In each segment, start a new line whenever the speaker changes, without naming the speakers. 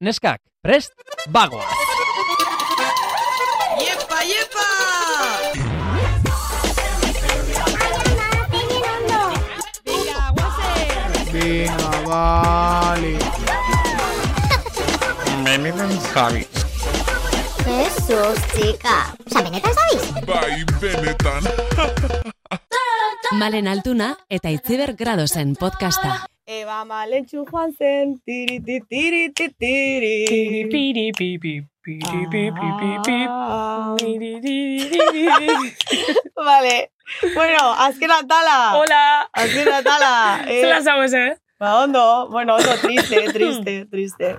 Neskak, prest, bagoa!
¡Yepa, yepa!
Venga, vale.
Jesus, txika. Osa, benetan zabiz?
Bai, benetan.
Malen Altuna eta Itziber Gradosen podcasta.
Eba maletxu joan zen, tiri ti tiri ti tiri.
Piri, pi, pi, piri, pi, pi, pi, pi,
Ah.
piri, di, di, di, di.
Vale, bueno, azken atala.
Hola!
Azken atala. Eh,
Zelan zauez, eh?
ba, ondo, bueno, ondo, triste, triste, triste,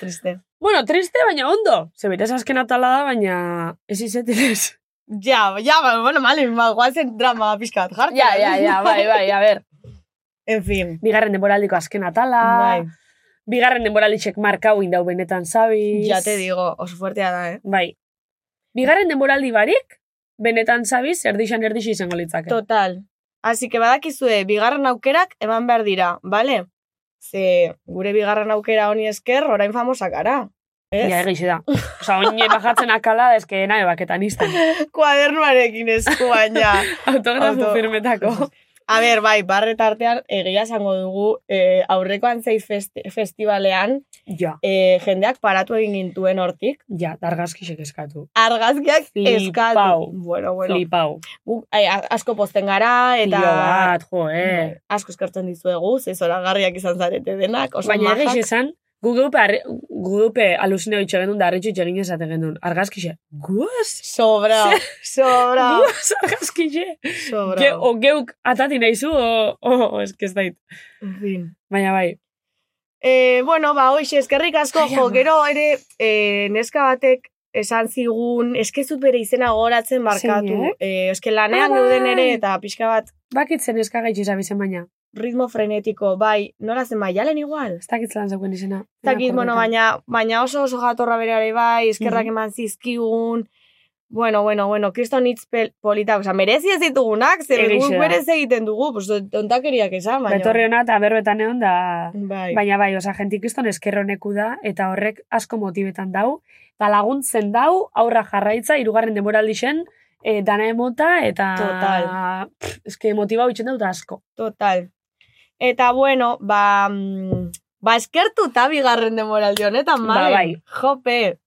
triste.
Bueno, triste, baina ondo. Zeberes azken atala da, baina ez izetenez.
Ja, ja, ba, bueno, male, ba, guazen drama pixkat jartzen.
bai, bai, a ber.
En fin.
Bigarren denboraldiko azken atala.
Bai,
Bigarren denboralditxek markau indau benetan zabiz.
ya te digo, oso fuertea da, eh.
Bai. Bigarren denboraldi barik, benetan zabiz, erdixan erdixi izango litzake.
Total. Así que badakizue, bigarren aukerak eman behar dira, bale? Ze, gure bigarren aukera honi esker, orain famosak gara. Ez?
Ja, egixe da. Osa, oin bajatzen akala da, eske nahi baketan izten.
kuadernuarekin esku baina.
Autografo
Auto-
firmetako.
A ber, bai, barre tartean egia esango dugu eh, aurrekoan zeiz festi festivalean
Ja,
eh, jendeak paratu egin gintuen hortik.
ja, dargazkisek eskatu.
Argazkiak
Flipau.
eskatu. Bueno, bueno.
Flipau.
Guk, ai, a- asko posten gara
Eta...
eta
bat, jo,
bai,
eh.
asko eskertzen dizuegu, ze zoragarriak izan zarete denak, oso
Baina
majak.
egiz esan, gu geupe, arre- gu geupe alusina bitxo gendun, da arritxu itxegin esate gendun. Argazkixe, guaz?
Sobra, sobra,
Guaz argazkixe?
sobra.
Ge, o geuk atati nahizu, o, o, o eske ez dait.
En fin.
Baina bai,
E, bueno, ba, hoxe, eskerrik asko,
Ai,
jo,
ama.
gero ere, e, neska batek esan zigun, eskezut bere izena gogoratzen barkatu.
Zeinek?
E, eske lanean
Ah,
geuden ere,
bai.
eta pixka bat,
bakitzen eska gaitxe zabizen baina.
ritmo frenetiko, bai, nola zen maialen igual?
Ez dakit zelan zegoen izena.
Ez dakit, bueno, baina, baina oso oso jatorra berare bai, eskerrak
Mhm.
eman zizkigun, bueno, bueno, bueno, kriston hitz pel- politak, oza, merezi ez ditugunak, zer
Egixe
guk
da.
berez egiten dugu, pues, tontakeriak esan, baina.
Betorri hona eta berbetan egon da...
Bai,
Baina bai, oza, jentik izton eskerroneku da, eta horrek asko motibetan dau, eta laguntzen dau, aurra jarraitza, irugarren demoraldixen, e, dana emota, eta...
Total.
Pff, eske motiba bitxen dut asko.
Total. Eta bueno, ba... mm, Ba, eskertuta bigarren demoraldi honetan,
Ba,
Malen.
bai.
Jope,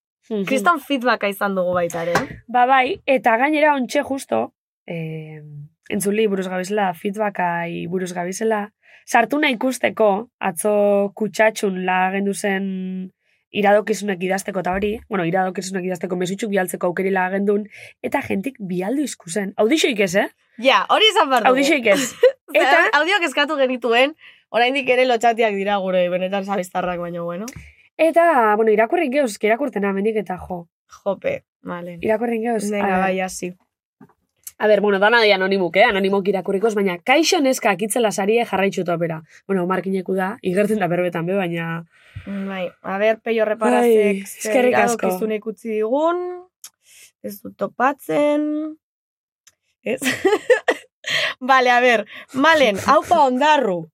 kriston feedbacka izan dugu baita ere.
Ba bai, eta gainera ontxe justo, e, entzuli buruz gabizela, feedbackai buruz gabizela, sartu nahi ikusteko, atzo kutsatxun lagendu zen iradokizunek idazteko eta hori, bueno, iradokizunek idazteko mesutxuk bialtzeko aukeri lagendun, eta jentik bialdu izkuzen. Audixoik ez, eh?
Ja, hori izan behar dugu.
Audixoik ez.
Eta
Eta,
audioak eskatu genituen, oraindik ere lotxatiak dira gure benetan zabiztarrak baino, bueno.
eta, bueno, irakurrik geuz, que irakurtena mendik eta jo.
Jope, vale.
Irakurrik geuz.
Venga,
a-
bai, hasi.
A ber, bueno, dana de anonimuk, eh? Anonimok irakurrikoz, baina kaixo neska akitzela sarie jarraitxu topera. Bueno, markineku da, igertzen da berbetan be, baina...
Bai, a ber, peio reparazek.
Ai, Bai, eskerrik asko.
Kizunek utzi digun, ez dut topatzen. Ez? vale, a ber, Malen, haupa ondarru.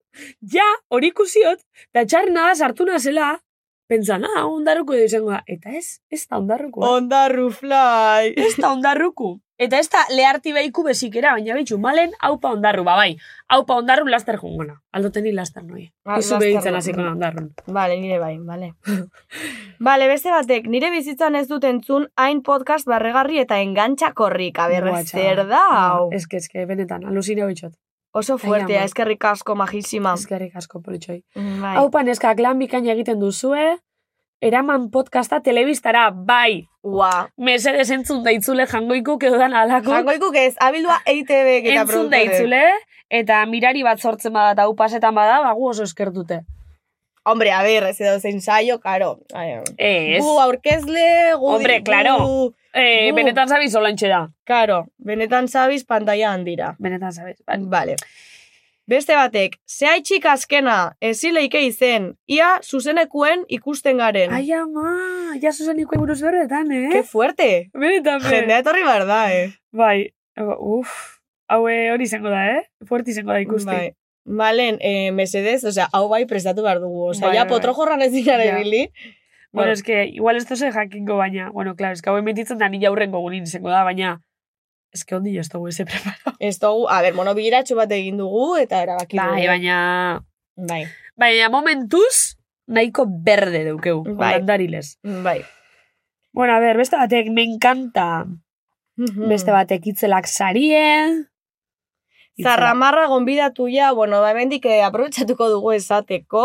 Ja, hori ikusiot, da txarrena da sartu nazela, pentsan, ah, ondarruko edo izango da. Eta ez, ez da ondarruko.
Ondarru fly.
ez da ondarruku. Eta ez da leharti behiku bezikera, baina bitxu, malen, haupa ondarru, ba bai. Haupa ondarru laster jungona. Aldoteni laster noi.
Ah,
Izu
laster
behitzen
noi.
hasiko na ondarrun.
Vale, nire bai, vale. vale, beste batek, nire bizitzan ez dut entzun hain podcast barregarri eta engantxakorrik. A ber,
Buatxa.
zer da, hau.
Ez que, ez que, benetan, alusine bitxot.
Oso fuertea,
ama.
eskerrik asko, majísima.
Ezkerrik asko politxoi.
Bai.
Hau paneskak lan bikaina egiten duzue, eraman podcasta telebistara, bai,
Ua.
mesedes entzun da itzule jangoikuk edo dan alako,
Jangoikuk ez, abildua E EITB eta
entzun da itzule, eta mirari bat sortzen bada eta hau pasetan bada, bagu oso eskertute.
Hombre, a ver, ez edo zein saio, karo. A ver.
Ez,
Gu aurkezle, gu...
Hombre,
gu-
claro. e,
bu.
benetan zabiz olantxe da.
Karo, benetan zabiz pantaia handira.
Benetan zabiz. bai.
Vale. Beste batek, zehaitxik azkena, ezileike izen, ia zuzenekuen ikusten garen.
Ai ama, ja zuzen ikue buruz berretan, eh?
Ke fuerte!
Benetan, be.
Jendea etorri behar da, eh.
Bai, uf, haue hori izango da, eh? Fuerte izango da ikusti.
Bai. Malen, eh, mesedez, osea, hau bai prestatu behar dugu. Osea,
Bai,
ja
bai, bai.
potro jorran ez dira
Ja.
ibili.
Bueno, eske, igual ez doze jakingo baina, bueno, claro, eske hau emititzen da nila aurrengo gurin izango da, baina eske ondi ez dugu eze preparado.
Ez dugu, a ber, mono bileratxo bat egin dugu eta erabaki
Bai,
dugu.
baina...
Bai,
Baina momentuz, nahiko berde dugu,
Bai.
bai. holandariles.
bai.
Bueno, a ber, beste batek, me encanta. Beste batek itzelak sarie.
Zarramarra gonbidatu ja, bueno, ba, hemendik eh, aprobetxatuko dugu esateko.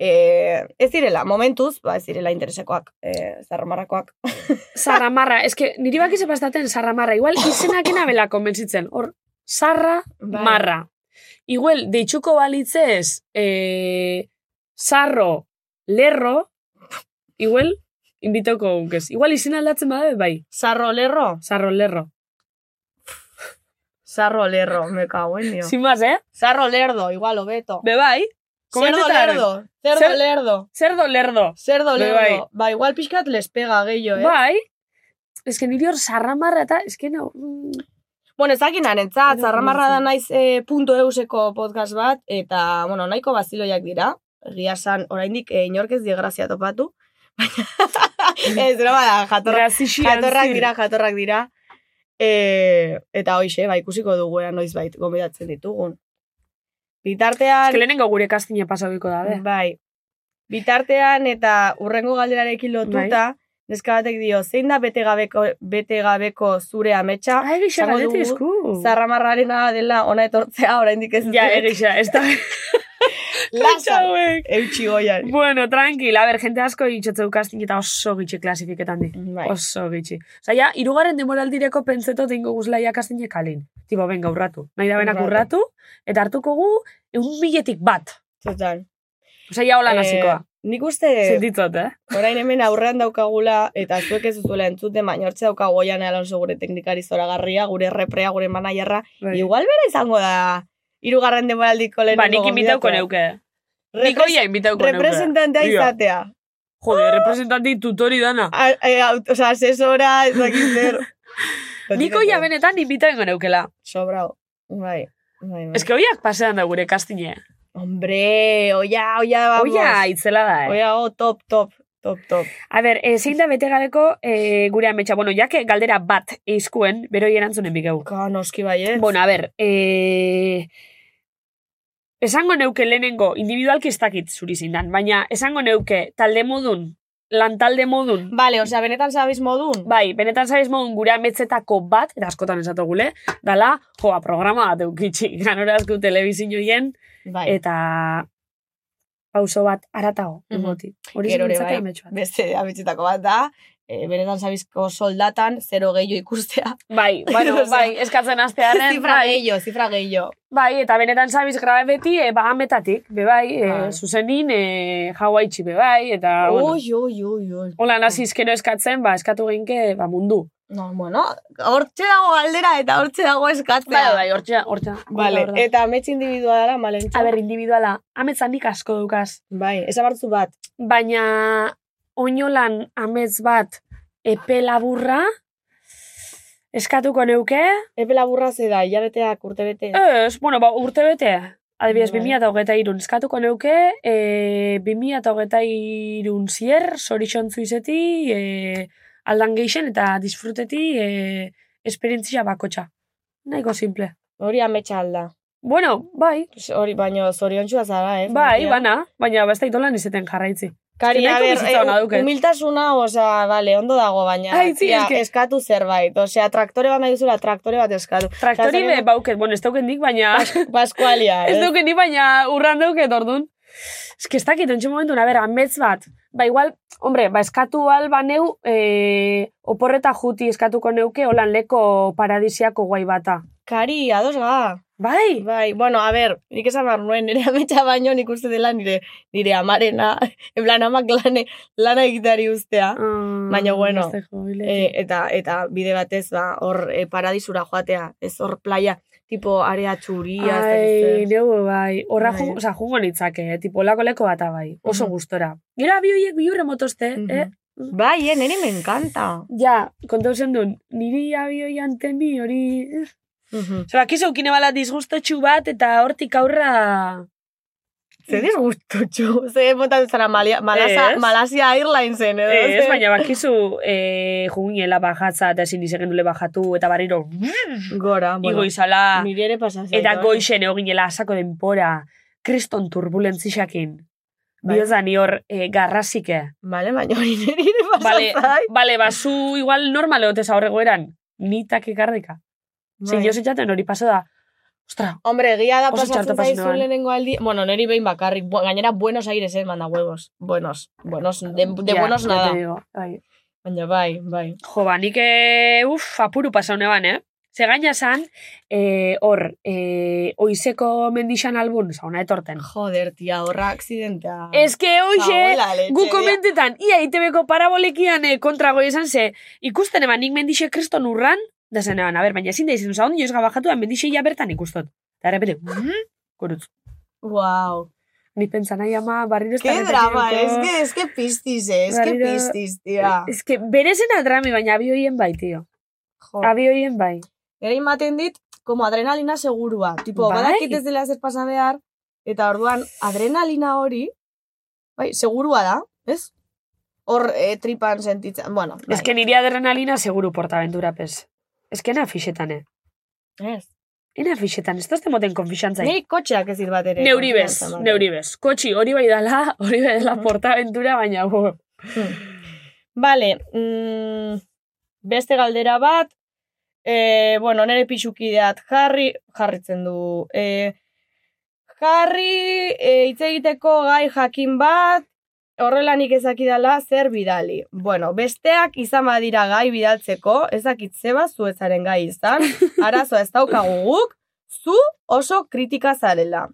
Eh, ez direla, momentuz, ba, ez direla interesekoak, eh, zarramarrakoak.
Zarramarra, eske niri baki zepastaten zarramarra. Igual izenakena bela konbentzitzen. Hor, zarra,
Bai.
marra. Igual, deitxuko balitzez, eh, zarro, lerro, igual, invitoko gukez. Igual izena aldatzen badabe, bai,
Zarro lerro?
zarro, lerro.
Zarro lerro, me caguen, dio.
Sin más, eh?
Zarro lerdo, igual, obeto.
Be bai,
Cerdo
komentzetan.
lerdo, cerdo
Zer-
lerdo.
Zerdo, lerdo.
Cerdo
Bai,
lerdo.
bai.
Ba, igual pixkat les pega gehiago, eh?
Bai, eske niri hor zarramarra eta, eske no... mm,
Bueno, ezakin arentzat,
Ero
zarramarra da
komentzen.
naiz e, punto euseko podcast bat, eta, bueno, nahiko baziloiak dira, egia san, oraindik e, inork ez die grazia topatu, baina, ez broma da, jatorra,
Grazixian
jatorrak
zir.
dira, jatorrak dira, e, eta hoxe, ba, ikusiko dugu ea noiz bait, gomidatzen ditugun.
Eske
Bitartean,
lehenengo gure kastina pasauiko da, be.
bai, bitartean eta urrengo galderarekin lotuta, neska batek dio, zein da bete gabeko, bete gabeko zure ametsa?
Ah, egixa,
Esango
galdetu
dugu,
esku.
zarramarrarena dela ona etortzea oraindik ez
Ja, egixa, ez da...
Lasa.
Hauek.
Eutxi goian.
Bueno, tranquil, a ber, jente asko itxotzeu kastin eta oso gitxi klasifiketan di.
Bai.
Oso gitxi. Osa, ja, irugarren demoraldireko pentseto teingo guzlaia kastinek kalin. Tipo, benga, urratu. Nahi da benak
Urratu.
urratu, eta hartuko gu, egun biletik bat.
Total.
Osa, ja, hola hasikoa.
Eh, nik uste
Sentitzot, eh?
orain hemen aurrean daukagula, eta zuek ez duzuela entzuten, baina hortze daukagu oian alonso gure teknikari zoragarria, gure reprea, gure manaierra. Igual bera izango da irugarren demoraldiko lehenengo
Bai. Ba, nik imitauko neuke. Nik
Repres-
oia imitauko neuke.
Representantea
Ia.
izatea.
Jode, representanti tutori dana.
A- e, aut- Osa, asesora, ez dakit zer.
Nik oia benetan imitaengo neukela.
Sobrao. Bai. Bai, bai.
Ez que oiak pasean da gure kastine.
Hombre, oia, oia, vamos.
Oia, itzela da, eh?
Oia, oh, top, top, top, top.
A ber, eh, zein da bete gabeko eh, gure ametsa. Bueno, jake galdera bat eizkuen, beroi erantzunen bikau.
Ka, noski bai, baiet.
Bueno, a ber, eh, esango neuke lehenengo, individualki ez dakit zuri zindan, baina esango neuke talde modun, lan talde modun,
Vale, osea, benetan zabiz modun.
Bai, benetan zaiz modun gure ametzetako bat, eta askotan esatu gule, dala, joa, programa bat eukitxi, ganorazko telebizin joien,
bai.
eta pauso bat aratago,
Mhm.
engoti. Hori
Gero ere
zintzate
bai.
ametsu bat.
Beste abitzetako bat da, e, benetan zabizko soldatan, zero gehiago ikustea.
Bai, bueno,
Osea,
bai, eskatzen astearen,
zifra
bai,
gehiago, zifra gehiago.
bai, eta benetan zabiz grabe beti, e, ba, ametatik, be bai, e,
Bai.
zuzenin, e, hauaitxi be bai, eta, bueno,
Ui, ui, ui, ui.
hola naziz gero eskatzen, ba, eskatu genke, ba, mundu.
No, bueno, hortxe dago galdera eta hortxe dago eskatzea.
Bai, bai, hortxe, hortxe.
Vale,
hortxe.
eta amets individuala malentxo.
A ber, individuala, ametzanik asko dukaz.
Bai, esabartzu bat.
baina oinolan amets bat epe laburra eskatuko neuke.
Epe laburra ze da, hilabeteak, urtebete.
Ez, bueno, ba, urte bete. Adibidez,
Bai.
2008 eskatuko neuke, e, 2008 zier, sorixon zuizeti, e, aldan geixen eta disfruteti e, esperientzia bakotxa. Nahiko simple.
Hori ametsa alda.
Bueno, bai,
Hori, baino zoriontsua zara, eh?
bai,
Familia.
bana, baina beste itolan izeten jarraitzi.
Kari,
Nahiko
a ber,
bizitza ona
eh,
daukat.
humiltasuna, osea, vale, ondo dago, baina
Ai, tzi,
tia,
eske-
eskatu zerbait. Osea, traktore bat nahi duzula, traktore bat eskatu.
Traktori
Zaten-
be, bauket, bueno, ez dauken dik, baina...
Paskualia,
Ez
ez?
duke ni baina urran duket ordun. Ez que ez dakit, ontsi momentu, a ber, amets bat. Ba, igual, hombre, ba, eskatu alba neu, e, oporreta juti eskatuko neuke, holan leko paradisiako guai bata.
Kari, ados ga.
Bai,
Bai, bueno, a ber, nik esan behar nuen, nire ametsa baino nik uste dela nire, nire amarena, en plan amak lane, lana egiteari uztea.
Ah,
Baina, bueno, E, eta eta bide batez, ba, hor eh, paradisura joatea, ez hor playa, tipo area txuria, ez dakit
Ai,
zer.
neu, bai. Horra,
Bai.
bai. oza, jungo nitzake, eh? tipo, lako leko bata, bai. Oso
Mhm.
gustora. Gero bi horiek biurre motozte,
Mhm.
eh?
Bai, eh, niri me encanta.
Ja, kontau zen duen, niri abioian temi hori... eh,
Mhm.
Zerakizu, kine bala disgustotxu bat, eta hortik aurra...
Ze disgustutxo. Ze botan zara Malia- Malasa-
Ez.
Malasia ¿eh? Airlinesen, edo?
Eh, Ez,
ze-
baina bakizu, eh, juginela bajatza, eta ezin dizegendule bajatu, eta barriro,
Gora, bueno. Ah,
igo izala,
Niri ere pasazia.
eta goixen eginela asako denpora, kriston turbulentzixakin.
Bai.
Biozan ni hor eh, garrasike.
Vale, baina hori niri ere
Bale,
pasazai.
bale, basu igual normal egote zaurrego eran. Ni takikarrika.
Bai.
Zer, jo zitzaten hori paso da. Ostra,
Hombre, egia da
Oso txarto
pasatzen
pasa
zaizu
nuen.
lehenengo aldi. Bueno, niri behin bakarrik. Bu- Gainera, Buenos Aires, eh, manda huevos. Buenos, buenos, de, de
ya,
buenos
ya
nada.
te digo, bai.
Baina bai, bai.
Jo, ba, nik, eh, uf, apuru pasaune ban, eh? Ze gaina zan, eh, hor, eh, oizeko mendixan albun, zauna etorten.
Joder, tia, horra accidentea.
Ez que hoxe,
Paola, leche,
gu
tia.
komentetan, ia itebeko parabolekian eh, kontrago esan ze, ikusten eban nik mendixe kriston urran, da zen eban, a ber, baina ezin da izan, zaun, joz gabajatu, mendixe ia bertan ikustot. Eta errepete, "Mm?" gorutz.
Wow.
Ni pentsa nahi ama barriro ez da
Qué drama, es
repetiriko.
que, es que pistis, eh, es que
Barriro-
pistis, tia.
Ez que berezena drami, baina abi horien bai, tio.
Jo.
Abi horien bai.
Ere imaten dit, como adrenalina segurua. Tipo,
Bai.
badakit ez dela zer pasa behar, eta orduan adrenalina hori, bai, segurua da, ez? Hor eh, tripan sentitzen, bueno. bai.
Ez que nire adrenalina seguru portaventura, pez. Ez que ena fixetan, eh.
Ez.
Ena fixetan, ez dozte moten konfixantza.
Niri kotxeak ez dit bat ere.
Neuri bez,
konfiantza ematen.
neuri bez. Kotxi, hori bai dala, hori bai
Ah.
dala portaventura, baina bo.
Bale, mm, beste galdera bat, e, bueno, nire pixukideat jarri, jarritzen du, e, jarri e, hitz egiteko gai jakin bat, horrela nik ezakidala zer bidali. Bueno, besteak izan badira gai bidaltzeko, ezakitze bat zuetzaren gai izan, arazoa ez daukagu guk, zu oso kritika zarela.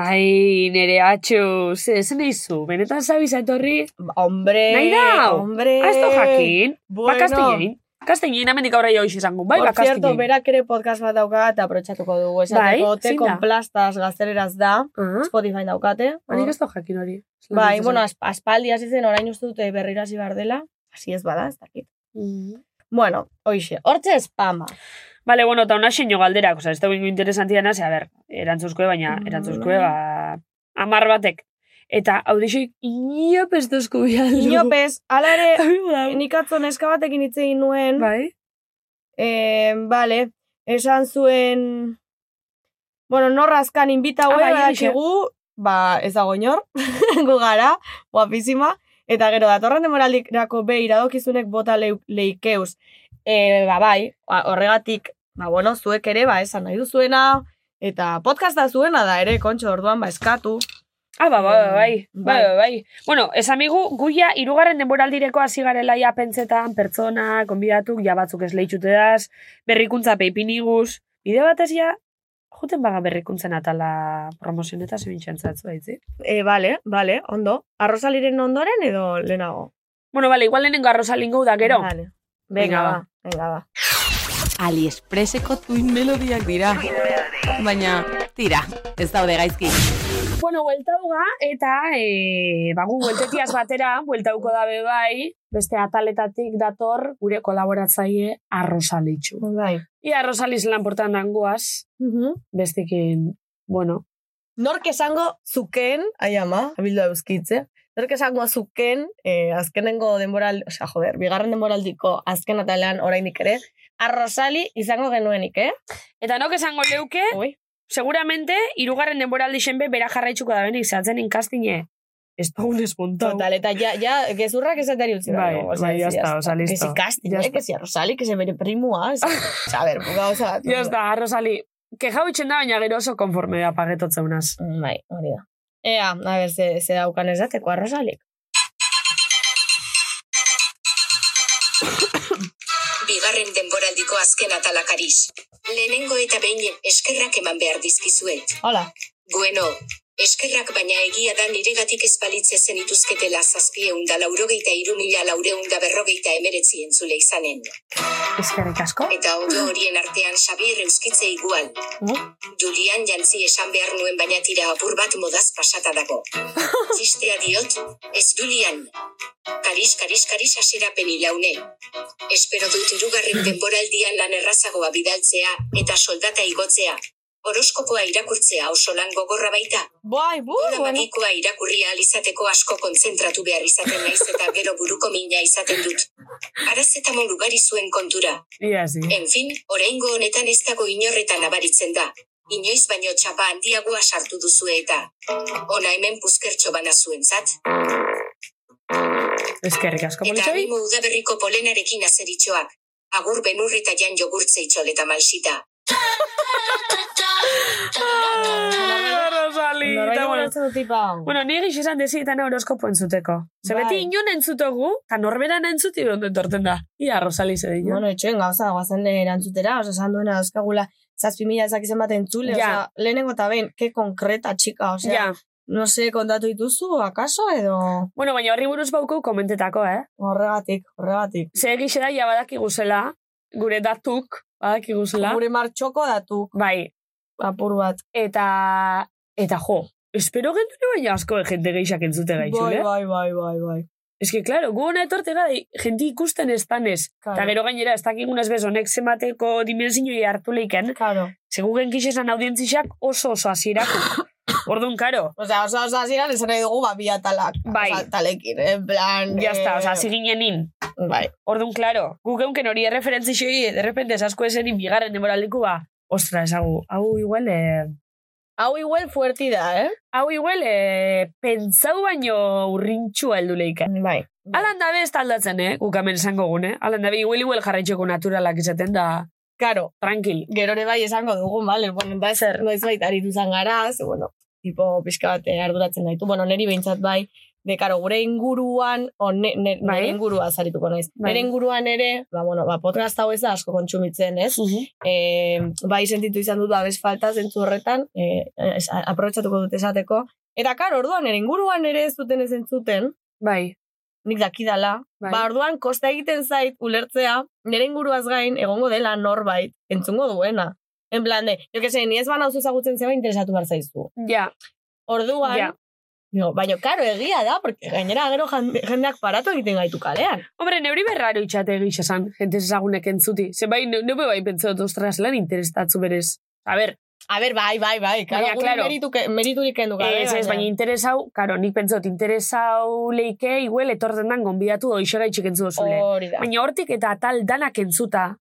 Ai, nere atxu, ze esan eizu, benetan zabiza etorri,
Ba, Hombre,
Nahi dau!
hombre.
haz do jakin,
Eh, Bueno.
ba kastilein. Kastilein, amendik aurra joa izango, bai, ba
Por cierto,
kastilein.
berak ere podcast bat dauka eta aprotxatuko dugu. Esateko,
Bai,
te
zein da?
konplastas gazteleraz da,
Ah,
Spotify daukate.
Nik ez do jakin hori.
Ah. Bai, bueno, asp- aspaldi hasi zen orain uste dute berriro hasi behar dela. Asi ez bada, ez dakit.
Mm.
Bueno, hoxe, hortxe espama.
Vale, bueno, eta una xeño galderak, oza, ez da bingo interesantia naz, a ber, erantzuzkoe, baina erantzuzkoe, ba, amar batek. Eta audixoik inop ez dozko bialdu.
Inopez, ala ere,
Inop.
nik atzo neska batekin hitz egin nuen.
Bai?
Eh, vale, esan zuen... Bueno, norrazkan inbita
Ah,
hue,
bai, horixe.
badakigu, ba, ez dago inor, gu gara, guapísima, eta gero datorren demoraldirako be iradokizunek bota leu- leikeuz. E, ba, bai, ba, horregatik, ba, bueno, zuek ere, ba, esan nahi duzuena, eta podcasta zuena da ere, kontxo, orduan, ba, eskatu.
Ah, ba, ba, ba, bai, bai,
Bai.
bai, bai. Bueno, ez amigu, guia, irugarren denboraldireko hasi garela ja pentsetan, pertsona, konbidatuk, ja batzuk ez lehitxute daz, berrikuntza peipiniguz, bide batez ja, juten baga berrikuntzen atala promozioneta zebintxantzatzu daitzi.
E, vale, vale, ondo. Arrozaliren ondoren edo lehenago?
Bueno, vale, igual lehenengo arrosalingo da gero.
Vale.
Venga,
Venga,
ba.
ba, venga, ba.
Aliexpreseko tuin melodiak dira. Baina, tira, ez daude gaizki.
Bueno, buelta duga, eta e, bagu bueltetiaz batera, bueltauko dabe bai, beste ataletatik dator gure kolaboratzaile arrosalitxu.
Bai.
Ia arrosaliz lan portan dangoaz, bestekin, bueno,
Nork esango zuken, ai ama, abildu euskitze, nork esango zuken, eh, azkenengo denboral, osea, joder, bigarren denboraldiko azken atalean oraindik ere, arrozali izango genuenik, eh?
Eta nok esango leuke,
Oi.
seguramente, irugarren denboraldi xenbe bera jarraitzuko da benik zatzen inkastine. Ez dugun espontau.
Total, eta ja, ja, gezurrak esatari utzi.
Bai,
dago,
bai, ya está, o sea, listo.
Que si casting,
Ya
eh,
está.
que si arrozali, que se bere primua, ez- o sea, a ver, gauza bat.
Ya está, arrozali. Kejau itxen da, baina gero oso konforme da pagetotzeunaz.
Bai, hori da. Ea, a ber, ze, ze daukan esateko arrozalik.
bigarren denboraldiko azken atalakariz. Lehenengo eta behin eskerrak eman behar dizkizuet.
Hola.
Bueno, eskerrak baina egia da niregatik espalitze zenituzketela zazpieunda laurogeita iru mila laureunda berrogeita emeretzi entzule izanen.
Eskerrik asko.
Eta odo horien artean Xabier euskitze igual. Julian jantzi esan behar nuen baina tira apur bat modaz pasata dago. Txistea diot, ez Julian. Karis, karis, karis aserapen ilaune. Espero dut irugarren denboraldian lan errazagoa bidaltzea eta soldata igotzea. Horoskopoa irakurtzea oso lan gogorra baita.
Bai, bu,
Bola
bueno.
magikoa irakurri ahal izateko asko konzentratu behar izaten naiz eta gero buruko mina izaten dut. Araz eta ugari zuen kontura.
Ia, zi.
En fin, oraingo honetan ez dago inorretan abaritzen da. Inoiz baino txapa handiagoa sartu duzue eta. Ona hemen puzkertxo bana zuentzat.
Ezkerrik asko
Eta
politxoi.
animo udaberriko polenarekin azeritxoak. Agur benurri eta jan jogurtze itxol eta malsita.
Rosali,
Norbait
eta bueno.
guretzen dut tipa.
Bueno, ni egiz esan dezi eta horoskopo entzuteko. Ze
Bai.
beti inon entzutogu, eta norberan entzuti dut torten da. Ia, Rosali, ze dino.
Bueno, etxoen gauza, guazen erantzutera, oza, esan duena dauzkagula, zazpi mila ezak izan bat entzule,
Ja.
oza, lehenengo eta behin, ke konkreta, txika, oza,
ja.
no se, kontatu dituzu, akaso, edo
Bueno, baina horri buruz bauku komentetako, eh?
horregatik, horregatik.
Ze egiz da, ja badakiguzela, gure datuk, badakiguzela.
Gure martxoko datu,
Bai,
apur bat.
eta, eta jo, espero gentu baina asko de jente geixak entzute gaitxule.
Bai, bai, bai, bai, bai.
eh? Es que, claro, gu hona etorte gara, jenti ikusten ez danez.
Claro.
Eta gero gainera, ez dakigunez bez honek zemateko dimensioi hartu leiken.
Karo.
Segu genkiz esan audientzixak oso oso azirako. Orduan, karo,
Oza, oso, oso, hasieran esan nahi dugu, ba, bi atalak.
Bai.
Oza, talekin, en plan...
ya está, oza, hasi
eh,
ginen in.
Bai.
Orduan, claro, gu geunken hori erreferentzixoi, de repente, esasko esenin bigarren demoraliku, ba, ostras, hau, hau igual, eh,
Hau igual fuerti da, eh?
hau igual, eh, pentsau baino urrintxua heldu leiken.
Bai.
Alan dabe ez da aldatzen, eh? Guk hemen esango gune. Alan dabe, igual, igual jarraitxeko naturalak izaten da,
Karo,
tranquil.
gero ere bai esango dugu, bale, bueno, da zer, noiz baita aritu zan gara, ze, bueno, tipo pixka bat eh, arduratzen gaitu, bueno, neri behintzat bai, de karo, gure inguruan, o ne, ne,
Bai.
nere ingurua zarituko naiz.
Bai.
Nere inguruan ere, ba, bueno, ba, podcast hau ez da asko kontsumitzen, ez? E, bai sentitu izan dut babes falta zentzu horretan, e, es, a- aprobetxatuko dut esateko. Eta karo, orduan, nere inguruan ere ez duten ez entzuten,
Bai.
nik dakidala.
Bai.
Ba, orduan, kosta egiten zait ulertzea, nire inguruaz gain, egongo dela norbait, entzungo duena. En plan de, jo que se, ni ez bana oso ezagutzen zeba interesatu behar zaizu.
Ja,
Orduan,
ja.
digo, baina, karo, egia da, porque gainera gero jende- jendeak paratu egiten gaitu kalean.
Hombre, neuri berraro itxate egiz esan, jente ezagunek entzuti. Ze bai, ne- neube bai pentsatu dut, ostras lan interestatzu berez. A ber,
A ber, bai, bai, bai, karo,
Baina,
guri
claro.
meritu, meriturik kendu gabe.
eh, ez ez, baina interes hau, karo, nik pentsatu, interes hau leike, igual, etorten dan gonbidatu doixe gaitxik entzu dozule.
Hori da.
Baina hortik eta tal danak entzuta,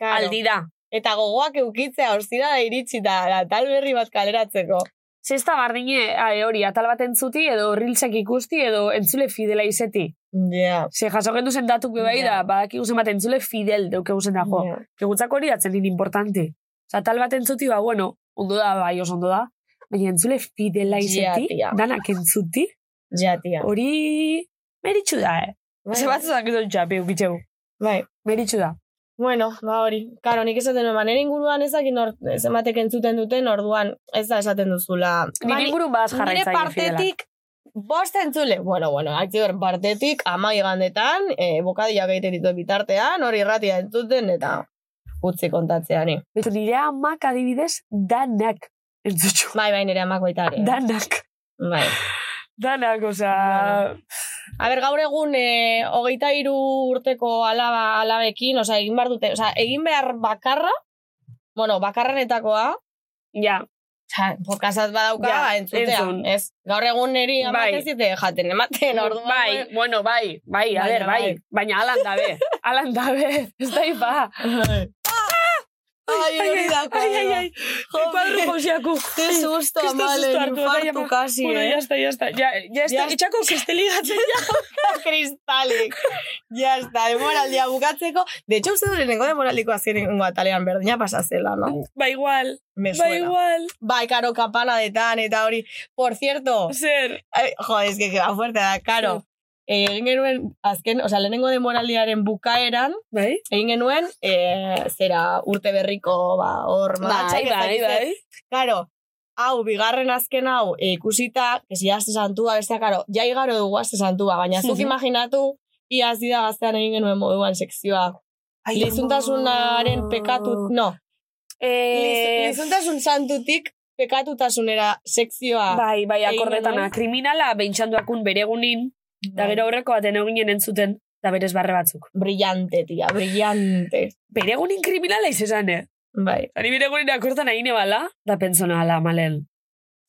Karo.
aldi da.
Eta gogoak eukitzea, ostira da iritsi da, tal berri bat kaleratzeko.
Ze ez da bardine, a, e, hori, atal bat entzuti, edo riltzak ikusti, edo entzule fidela izeti.
Ja.
Ze jaso gendu zen datuk bebai
Ja.
da, badaki guzen bat entzule fidel deuke guzen da, jo.
ja.
Egutzak hori datzen din importante. Osa, tal bat entzuti, ba, bueno, ondo da, bai, oso ondo da. Baina entzule fidela izeti,
Ja, tia.
danak entzuti,
Ja, tia.
hori meritxu da, eh?
Bai,
Ze
bai.
bat zuzak dut japi, ukitxeu.
Bai.
Meritxu da.
Bueno, ba hori. Karo, nik esaten duen, nire inguruan ezakin or, zematek entzuten duten, orduan ez da esaten duzula.
Nire
Ba, ni-
ingurun badaz
nire
jarraitzaile fidelak.
partetik, bost entzule. Bueno, bueno, aktiber partetik, ama igandetan, e, bokadia gaiten ditu bitartean, hori irratia entzuten, eta utzi kontatzeani.
Beto, nire amak adibidez, danak entzutxu.
Bai, bai, nire amak baita ere.
Danak.
Bai.
Danak, oza...
Bueno. A ber, gaur egun e, hogeita hiru urteko alaba, alabekin, osea, egin behar dute, osea, egin behar bakarra, bueno, bakarrenetakoa,
Ja,
Osea, Podcastat badauka
Ja,
entzutea.
entzun.
Ez, gaur egun niri
Bai.
amak ez dite jaten ematen, orduan.
bai, bueno, bai, bai, a
Baina,
ber, bai.
bai.
Baina alan dabe, alan dabe, ez da ipa.
Ai, hori da,
Ai, ai, ai,
Joder.
kuadro pausiaku.
Te susto,
Kristo
amale,
susto hartu,
infartu
baina-
kasi,
Bueno, ya
eh?
está, ya está. Ya, ya está,
Ya-
etxako kesteli gatzen ja.
Kristalik. Ya está, demoraldia bukatzeko. De hecho, uste dut lehenengo demoraldiko azkenengo atalean berdina pasazela, no?
Ba igual,
Me
ba
suena.
igual.
Bai, karo, kapanadetan eta hori. Por cierto,
Zer,
Ai, jo, ez que va fuerte da, karo. Eh, egin genuen, azken, o sea, lehenengo demoraldiaren bukaeran,
bai?
egin genuen, e, zera urte berriko, ba, hor,
Bai,
madatxak, ez dakit zer. Karo, hau, bigarren azken hau, e, ikusita, que si azte santua, bestea, karo, ja igaro dugu azte santua, baina zuk
Mhm.
imaginatu, iaz dira gaztean egin genuen moduan sekzioa. Lizuntasunaren pekatu, no,
Eh,
liz- lizuntasun santutik pekatutasunera sekzioa.
bai, bai,
egin
akordetana.
genuen.
Kriminala bentsanduakun bere egunin, da gero aurreko baten eginen entzuten, da berez barre batzuk.
brillante, tia, brillante.
Bere egunin kriminala izan, eh?
Bai.
Ani bire gure irakurtan haine bala, da pentsona ala, malel.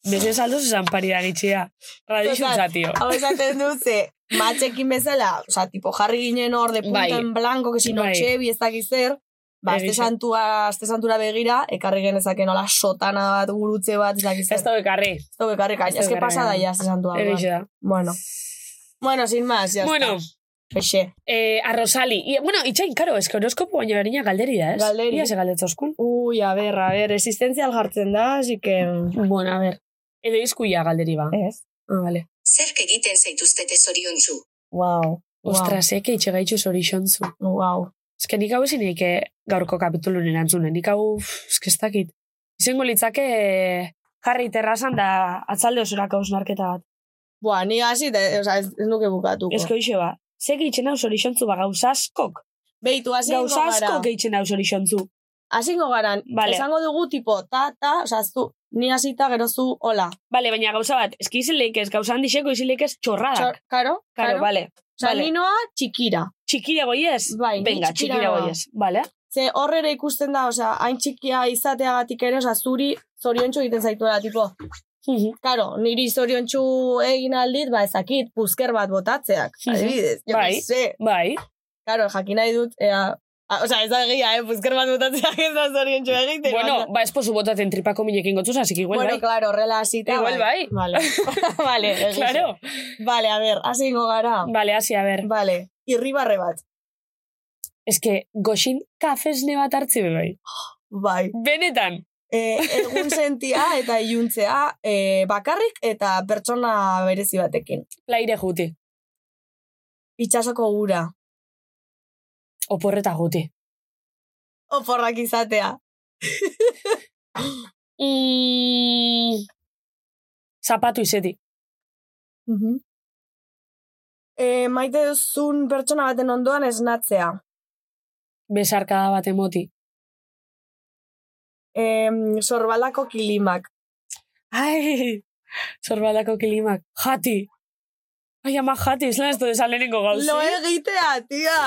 Beze saldu zuzan paridan itxia. Radixun
Total,
zatio.
Hau esaten du, ze, matxekin bezala, oza, tipo jarri ginen hor de punta
Bai.
en blanco, que si no
Bai.
txebi, ez dakiz zer, ba, azte
Egizu.
santua, azte santura begira, ekarri genezake nola sotana bat, gurutze bat, ez dakiz
Ez
zer.
da bekarri.
Ez da bekarri kain,
ez
ez que
da
pasa
bekarri.
daia azte santua.
Egizu da.
Bueno. Bueno, sin más, Ba, ya
Bueno,
está. Exe.
eh, arrozali. I, bueno, itxain, karo, eske horoskopo baina berina galderi da, ez?
Galderi.
Ia ze galdetzozkun.
Ui, a ber, a ber, existentzial jartzen da, así que...
Bueno, a ber. Edo izkuia galderi ba.
Ez.
Ah, vale.
Zerk egiten zaituztete zoriontsu.
Wow.
Ostras, eh, eke itxegaitxu zorixontzu.
Wow.
Ez que nik hau ezin eike gaurko kapitulun erantzunen. Nik hau, uf, ez que ez dakit. Izengo litzake eh, jarri terrazan da atzalde osorako osnarketa bat.
Buah, ni hasi, da- osea, ez, ez nuke bukatuko.
Ez hoxe ba. Ze gehitzen hau zorixontzu ba gauzaskok.
Beitu, hasi ingo Ba, gara.
Gauzaskok gehitzen hau zorixontzu.
Hasingo garan,
Vale.
esango dugu tipo, ta, ta, oza, zu, ni hasita gero zu, hola.
Bale, baina gauza bat, eski izileik ez, gauza handixeko izileik ez
Txor,
txorradak.
karo?
Karo, bai, bale.
Oza,
bale.
ni noa txikira.
Txikira goiez?
Bai, ni
Venga,
txikira
txikira
noa.
goiez. Bale.
Ze horre ere ikusten da, oza, hain txikia izateagatik ere, oza, zuri zoriontsu egiten zaituela, tipo,
Mhm.
karo, niri zoriontsu egin aldit, ba, ezakit, puzker bat botatzeak,
Mhm.
adibidez, jo,
Bai.
bai. ze,
Bai.
karo, jakin nahi dut, ea, a, oza, ez da egia, eh, puzker bat botatzeak ez da zoriontsu egiten.
Bueno,
baina-
ba, esposu botaten tripako minekin gotzuz, asik igual,
bueno,
bai.
claro, horrela hasita.
Igual bai.
Vale, vale, egizu.
Claro.
Vale, a ber, hasingo gara.
Bale, hasi, a ber.
Vale, irribarre bat.
Eske, goxin kafesne bat hartzi be bai.
Bai.
Benetan.
E, egun sentia eta iluntzea e, bakarrik eta pertsona berezi batekin.
Laire juti.
Itxasoko gura.
Oporreta juti.
Oporrak izatea.
Mm. Zapatu izeti.
e, maite duzun pertsona baten ondoan esnatzea.
Besarkada bat emoti.
E, sorbalako kilimak.
Ai, zorbalako kilimak. Jati. Ai, ama jati, izan ez du desalenengo gauzi.
Lo egitea, tia!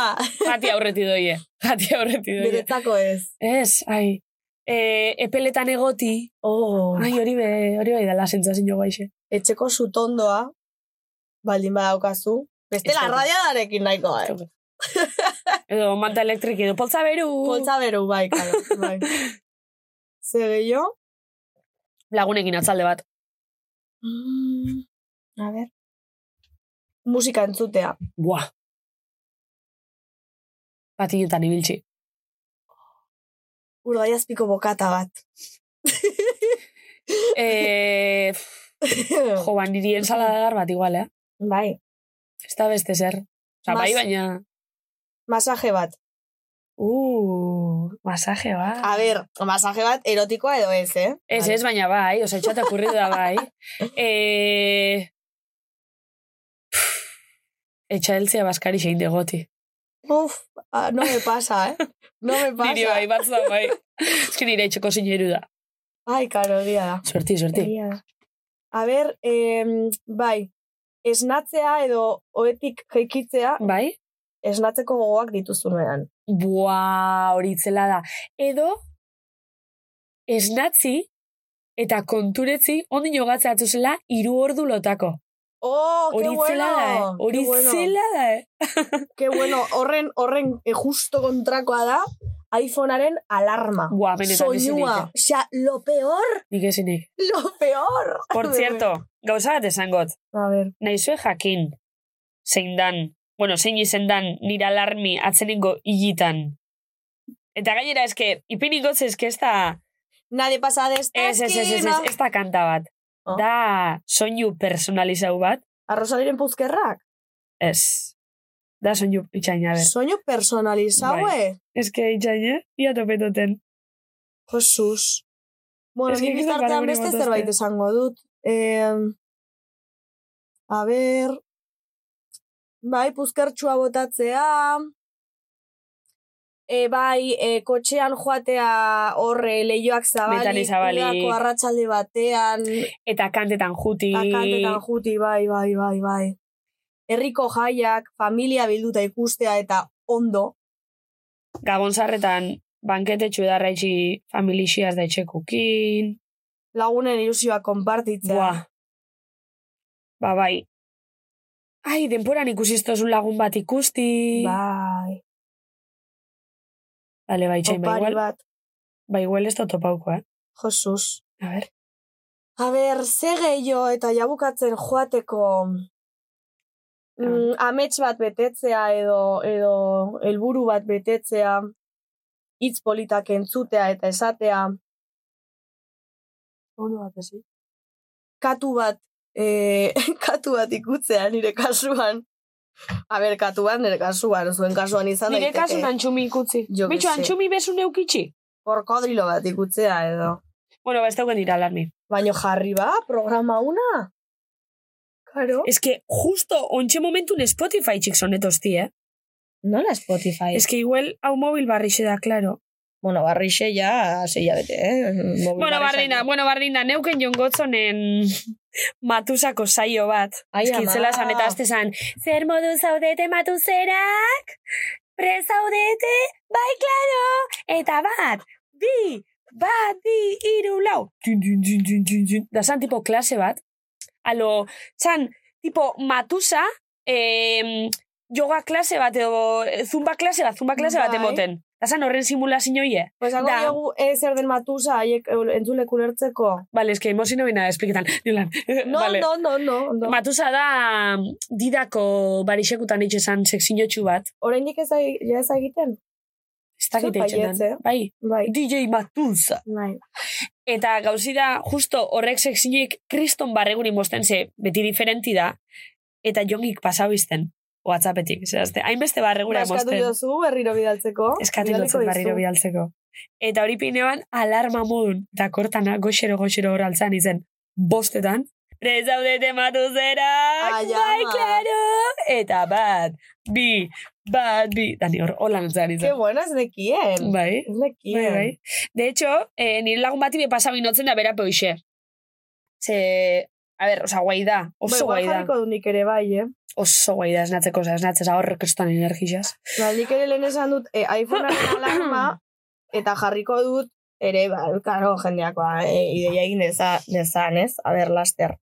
Jati aurreti doie. Jati aurreti doie.
Beretzako ez.
Ez, ai. E, epeletan egoti.
Oh.
Ai, hori be, hori bai dela sentzazio baixe.
Etxeko sutondoa, baldin badaukazu. Bestela
Ez dakit.
radiadarekin nahiko, eh?
edo manta elektrik edo poltza beru.
Poltza beru, bai, karo, bai. Ze gehiago?
Lagunekin atzalde bat. Mm,
A ber. Musika entzutea.
Buah. Patinetan ibiltzi.
Urdaiazpiko bokata bat.
E,
Hm.
jo, ba, niri ensaladar bat igual, eh?
bai.
Ez da beste zer. Osa, bai,
Mas-
baina...
Masaje bat.
Uh, masaje bat.
A ber, masaje bat erotikoa edo ez, eh?
Ah. Ez, ez, baina bai, osa, itxata kurritu da bai. e... Etxaeltzea baskari xein degoti.
Uf, ah, no me pasa, eh? No me pasa.
Niri bai, batzu da bai. Ez que nire etxeko zineru da.
Ai, karo, egia da.
Suerti, suerti.
Egia da. A ber, em, bai, esnatzea edo oetik jeikitzea
Bai?
esnatzeko gogoak dituzunean.
Bua, hori itzela da. Edo, esnatzi eta konturetzi ondin jogatzea zela hiru ordu lotako.
Oh,
Hori
qué
itzela da, eh?
bueno.
Hori
qué bueno.
itzela da, eh?
Ke bueno, horren, horren eh, justo kontrakoa da iPhonearen alarma.
Bua, benetan
Soinua.
ezinik.
Osea, lo peor,
Nik ezinik.
lo peor.
Por cierto, gauza bat esangot.
A ver,
Naizue jakin, zein dan, bueno, zein izen dan, nira alarmi atzenengo higitan. Eta gainera, eske, ipiniko eske ez da...
nadie pasa de esta
Ez, ez, ez, ez,
esquina.
ez, ez da kanta bat.
Oh.
Da soinu personalizau bat,
Arrosaliren puzkerrak.
Ez. Da soinu itxain, a ber.
Soño personalizado,
Bai.
eh?
Ez que itxain, eh? Ia topetoten.
Josuz. Bueno,
Ez
ni
que gizon
bitartean
paragoni
beste
bat
zerbait
ostea.
esango dut. Eh, a ber... Bai, puzkertxua botatzea... E, bai, e, kotxean joatea horre leioak zabalik,
Metali zabalik.
udako arratsalde batean,
Eta kantetan juti.
takantetan juti, bai, bai, bai, bai. Herriko jaiak, familia bilduta ikustea eta ondo,
Gabon sarretan bankete txudarra itxi familixiaz da etxekukin,
Lagunen ilusioa konpartitzea.
Buah. Ba, bai. Ai, denporan ikusiztozun lagun bat ikusti.
Bai.
Bale, bai, txain, ba,
Opari
igual,
bat.
ba, igual ez da topauko, eh?
Josuz.
A ber.
A ber, ze gehiago eta jabukatzen joateko mm, amets bat betetzea edo edo helburu bat betetzea hitz politak entzutea eta esatea
Ondo bat ezi.
katu bat e, katu bat ikutzea nire kasuan. A ber, katuan nire kasuan, zuen kasuan izan
Nire
daiteke.
kasun antxumi ikutzi.
Jo que
Bitxo,
sé.
antxumi besu neukitxi.
Korkodrilo bat ikutzea edo.
Bueno, ba, ez dauken dira alarmi.
Baino jarri ba, programa una. Karo.
Ez que, justo, ontxe momentun Spotify txik sonetosti, eh?
Nola Spotify?
Ez que igual, hau mobil barrixe da, claro.
Bueno, barrixe ja, sei bete, eh? Mobil
Bueno, barrina, bueno, barrina, neuken Jon Gotzonen matusako saio bat.
Ai, Bai, ama.
Eskitzela zan eta azte zan, zer modu zaudete matuzerak, prezaudete, bai, klaro, eta bat, bi, bat, bi, iru, lau. Tun, tun, tun, tun, tun, tun. Da zan tipo klase bat. Alo, zan, tipo matusa, eh, yoga klase bat, edo eh, zumba klase bat, zumba klase bat
Bai.
emoten. Da zan horren simulazioie.
Pues hago
Da.
diogu eh, zer den matusa haiek eh, eul- entzulek ulertzeko.
Vale, es que hemos ido nada expliquetan. Nolan.
No,
vale. Ba-
no, no, no. no.
Matusa da mm, didako barixekutan itxezan seksinotxu bat.
Oraindik ez ai- ja ez egiten?
Ez dakit
Zuk
itxetan.
baietz, eh?
Bai.
Bai.
DJ Matusa.
Bai.
Eta gauzi da, justo horrek seksinek kriston barregun imosten ze, beti diferenti da. Eta jongik pasau izten. Whatsappetik, zerazte. Hainbeste barregura
Ba, Eskatu
imosten.
jozu berriro bidaltzeko.
Eskatu
Bidaliko
dutzen barriro
dizu.
bidaltzeko. Eta hori pineoan alarma modun. Eta kortana goxero goxero hor altzan izen. Bostetan. Prezaudete matu zerak,
Ai,
bai,
ama.
klaro! Eta bat, bi, bat, bi. Dani hor, holan altzan
Ke
izen.
buena ez nekien.
Bai.
Ez
Bai,
nekien.
bai. De hecho, eh, nire lagun bati be pasau inotzen da bera peuxe. Ze, a ber, oza, guai da, oso
igual
guai da.
Bai, jarriko du nik ere bai, eh?
Oso guai da, esnatzeko, oza, esnatzeza hor kriston energizaz.
Ba, nik ere lehen esan dut, eh, iPhonearen alarma, eta jarriko dut, ere, ba, karo, jendeakoa, eh, ideia egin deza, dezan, ez? A ber, laster.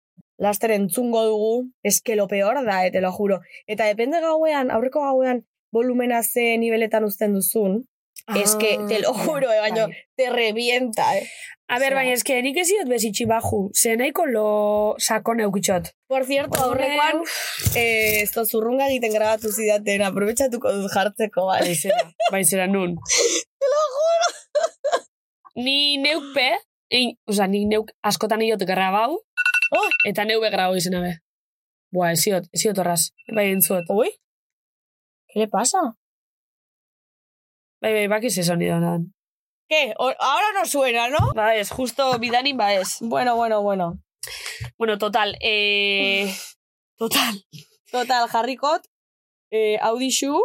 Laster entzungo dugu, eske lo peor da, eh, te lo juro. Eta depende gauean, aurreko gauean, volumena ze niveletan uzten duzun, eske, te lo juro, eh, baino, te revienta, eh.
A ber,
Osea.
baina eske nik ez diot bezitxi baju, ze nahiko lo sakon eukitxot.
Por cierto, aurrekoan, eh, ez da zurrunga egiten grabatu zidaten, aprobetsatuko dut jartzeko, bai.
Baizera, baizera nun.
Te lo juro!
Ni neukpe, in, oza, nik neuk askotan iot grabau,
Oh!
eta neube grabau izena be. Boa, ez iot, ez iot horraz, bai entzuot.
Ui? ¿Qué le pasa?
Bai, bai, bakiz ez honi donan.
¿Qué? O- ahora no suena, ¿no?
Ba ez, justo bidanin ba ez.
Bueno, bueno, bueno.
Bueno, total, eh... Total.
Total, Harrikot, eh, audixu,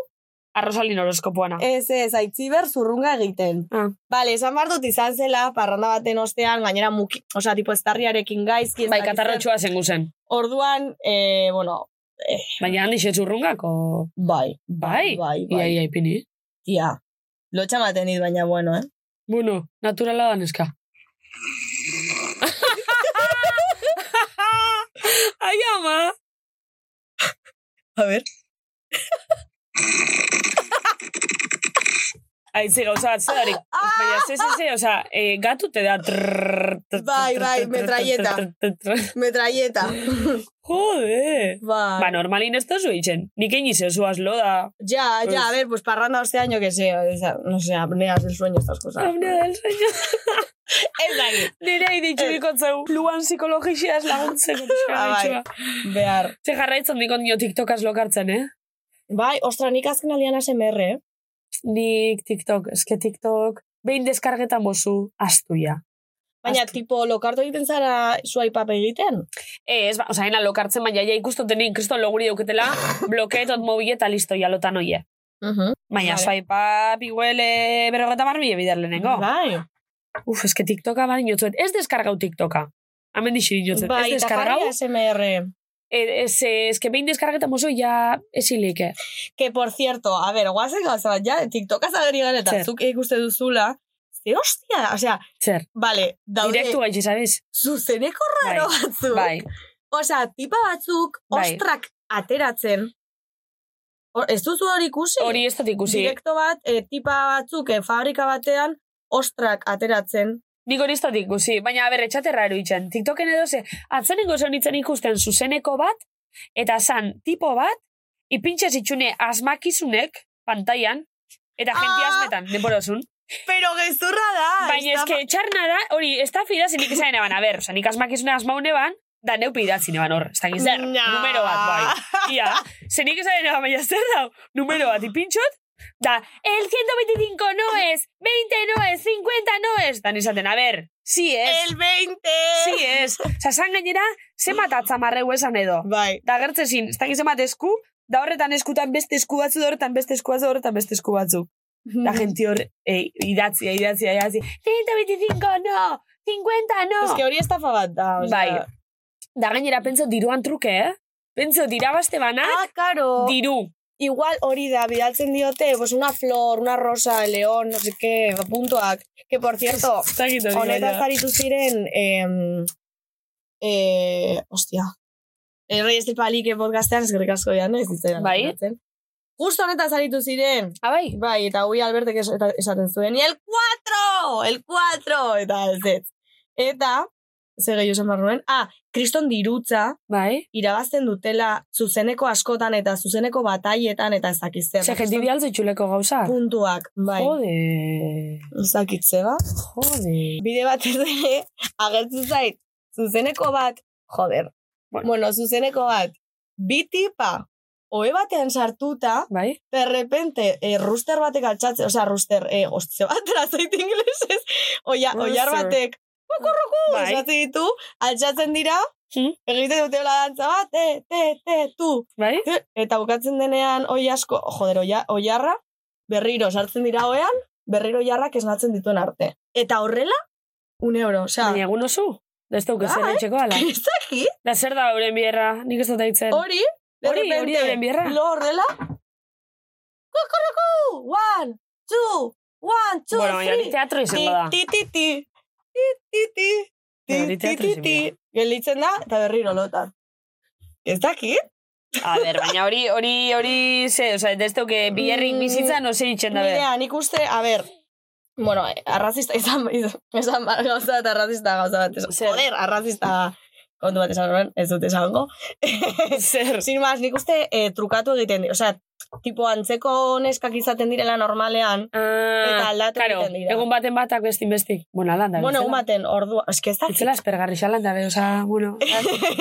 Arrosalin horoskopoana.
ez ez, aitziber zurrunga egiten.
Ah.
Bale, esan behar dut izan zela, parranda baten ostean, gainera muki, osea, tipo estarriarekin gaizki. ez
bai,
dakit zer.
katarrotxua zen guzen.
Orduan, eh, bueno,
Baina handi xetzurrungako...
bai,
Bai,
bai,
Ia,
bai,
ia, ipini.
tia. Lotxa maten dit, baina bueno, eh?
Bueno, naturala da neska. Ai, ama!
A ver.
Aize, gauza bat zedarik.
Ah!
Baina, ze, ze, ze, oza, eh, gatu te da... trrrr, trrr,
Bai,
trrr,
bai,
trrr,
metralleta.
trrr, trrr, trrr.
Metralleta.
Jode!
bai.
Ba, normalin ez tozu eitzen. Nik egin izezu aslo da.
Ya,
Pues-
ya, a ver, pues parranda ostean, yo que sé, o sea, no sé, apneas el sueño, estas cosas.
Apnea del sueño.
Ez dakit.
Nire iditxuriko zeu. Luan psikologixiaz laguntzeko. pixka
Ba, Eh. bai.
bitxua.
Behar.
Ze jarraitzen dikon nio TikTok lokartzen, eh?
Bai, ostra, nik azken aldean ASMR, eh?
Nik TikTok, eske TikTok, behin deskargetan bozu, astuia.
Baina,
Azken-
tipo, lokartu egiten zara suaipap egiten?
Ez, ba, oza, ena lokartzen, baina ja ikustotenik kriston loguri dauketela, blokeetot mobile eta listo, jalotan oie.
Uh
Baina
Vale.
vale. swipe up, igual, eh, berrogeta marmile bidar lehenengo.
Bai,
Uf, eske TikToka bari niotzet, ez deskargau TikToka. Hemen dixi niotzet,
bai,
ez
eta jarri
deskargau,
ASMR.
Eh, ez, eh, ez que behin deskargetan mozo, ja ezilik, eh.
Que, por cierto, a ver, guazen gauza bat, ja, TikTokaz ageri gara eta
Zer.
zuk ikuste duzula, ze hostia, osea,
Zer,
vale, daude
direktu gaitxe, sabes?
zuzeneko raro
Bai,
batzuk.
Bai,
Osea, tipa batzuk
Bai.
ostrak ateratzen. Hor- ez duzu hori ikusi?
Hori ez dut ikusi.
Direkto bat, eh, tipa batzuk eh, fabrika batean ostrak ateratzen.
Nik hori ez dut ikusi, baina aber etxaterra eruitzen. TikToken edo ze, atzenengo zonitzen ikusten zuzeneko bat, eta zan tipo bat, ipintxe zitxune asmakizunek, pantaian, eta jentia
Ah!
asmetan, denborozun.
Pero gezurra da!
Baina eske etxarna da, hori, ez da fidazi nik izan eban, a ber, oza, nik asmakizuna asmaune ban, da neupi idatzi neban hor, ez dakit zer,
Na.
numero bat, bai. Ia, ze nik izan eban, baina zer da, numero bat, ipintxot, da, el 125 no es, 20 no es, 50 no es, dan izaten, a ber, si es,
El 20!
si es. Oza, zan gainera, zemat atzamarreu esan edo.
Bai.
Da gertzezin, ez dakit zemat esku, da horretan eskutan beste esku batzu, da horretan beste esku batzu, da horretan beste esku batzu. La gente hor eh, idatzia, idatzia, idatzia. 125, no! 50, no!
Ez que hori estafa bat da, osea.
Ah. Bai. Da gainera, pentso diruan truke, eh? Pentso, dirabazte banak,
Ah, karo.
diru.
Igual hori da, bidaltzen diote, pues una flor, una rosa, el león, no sé qué, puntuak. Que, por cierto,
Zagit
honetaz aritu ziren, em, eh, hostia, el Reyes del Palique podcastean, eskerrik asko ya, ez izan.
Bai.
Justo honetaz aritu ziren,
Abai?
bai, eta hui albertek es- eta- esaten zuen, y el 4, el 4, eta ez ez. Eta, ze gehiago esan behar nuen, ah, kriston dirutza,
Bai?
irabazten dutela zuzeneko askotan eta zuzeneko bataietan eta ez dakit zer.
Ze jenti bialtze txuleko gauza.
puntuak, bai.
Jode,
Ez dakit ze ba.
jode.
Bide bat ez ere, agertu zait, zuzeneko bat, joder.
Bueno.
Bueno, zuzeneko bat, bi tipa, ohe batean sartuta,
Bai?
de repente, eh, rooster batek altxatzen, osea, rooster, eh, ostze bat, razait inglesez, oia,
Rooster.
oiar batek,
Bai.
bai. ditu, altxatzen dira,
Hmm.
egiten dute hola dantza bat, te, te, te, tu,
Bai?
Eta bukatzen denean oi asko, joder, oia, oiarra, berriro sartzen dira hoean, berriro oiarrak esnatzen dituen arte. Eta horrela, un euro, osea,
Baina egun oso? Da ez dauk ezer
Bai.
etxeko ala.
ez dakit,
Da zer da euren bierra, nik ez dut daitzen.
hori, de
Hori, hori
repente,
euren bierra.
lo horrela, kukurruku, one, two, one, two,
Bueno, baina hori
three,
teatro
ti,
izango da.
ti, ti, ti, ti, ti, ti,
Baina hori
ti, ti,
teatro
ti,
izan
ti,
behar.
gelditzen da, eta berriro lotan. Ez dakit?
A ber, baina hori, hori, hori, ze, oza, ez que biherrik
Mm,
bizitza, no ze itxen da, ber.
Nirea, nik uste, a ber, bueno, eh, arrazista izan, izan, esan bar gauza eta arrazista gauza bat. esan.
Zer?
Joder, arrazista kontu bat esan nuen, ez dut esango.
Zer?
Sin más, nik uste eh, trukatu egiten dira. Osea, tipo antzeko neskak izaten direla normalean.
Ah,
Eta aldatu
claro,
egiten dira.
egun baten batak bestin bestik. Bueno, alanda.
bueno,
bezala.
umaten, ordua, eske ez
Itzela
dakit.
aspergarri xalan da, be, oza, bueno.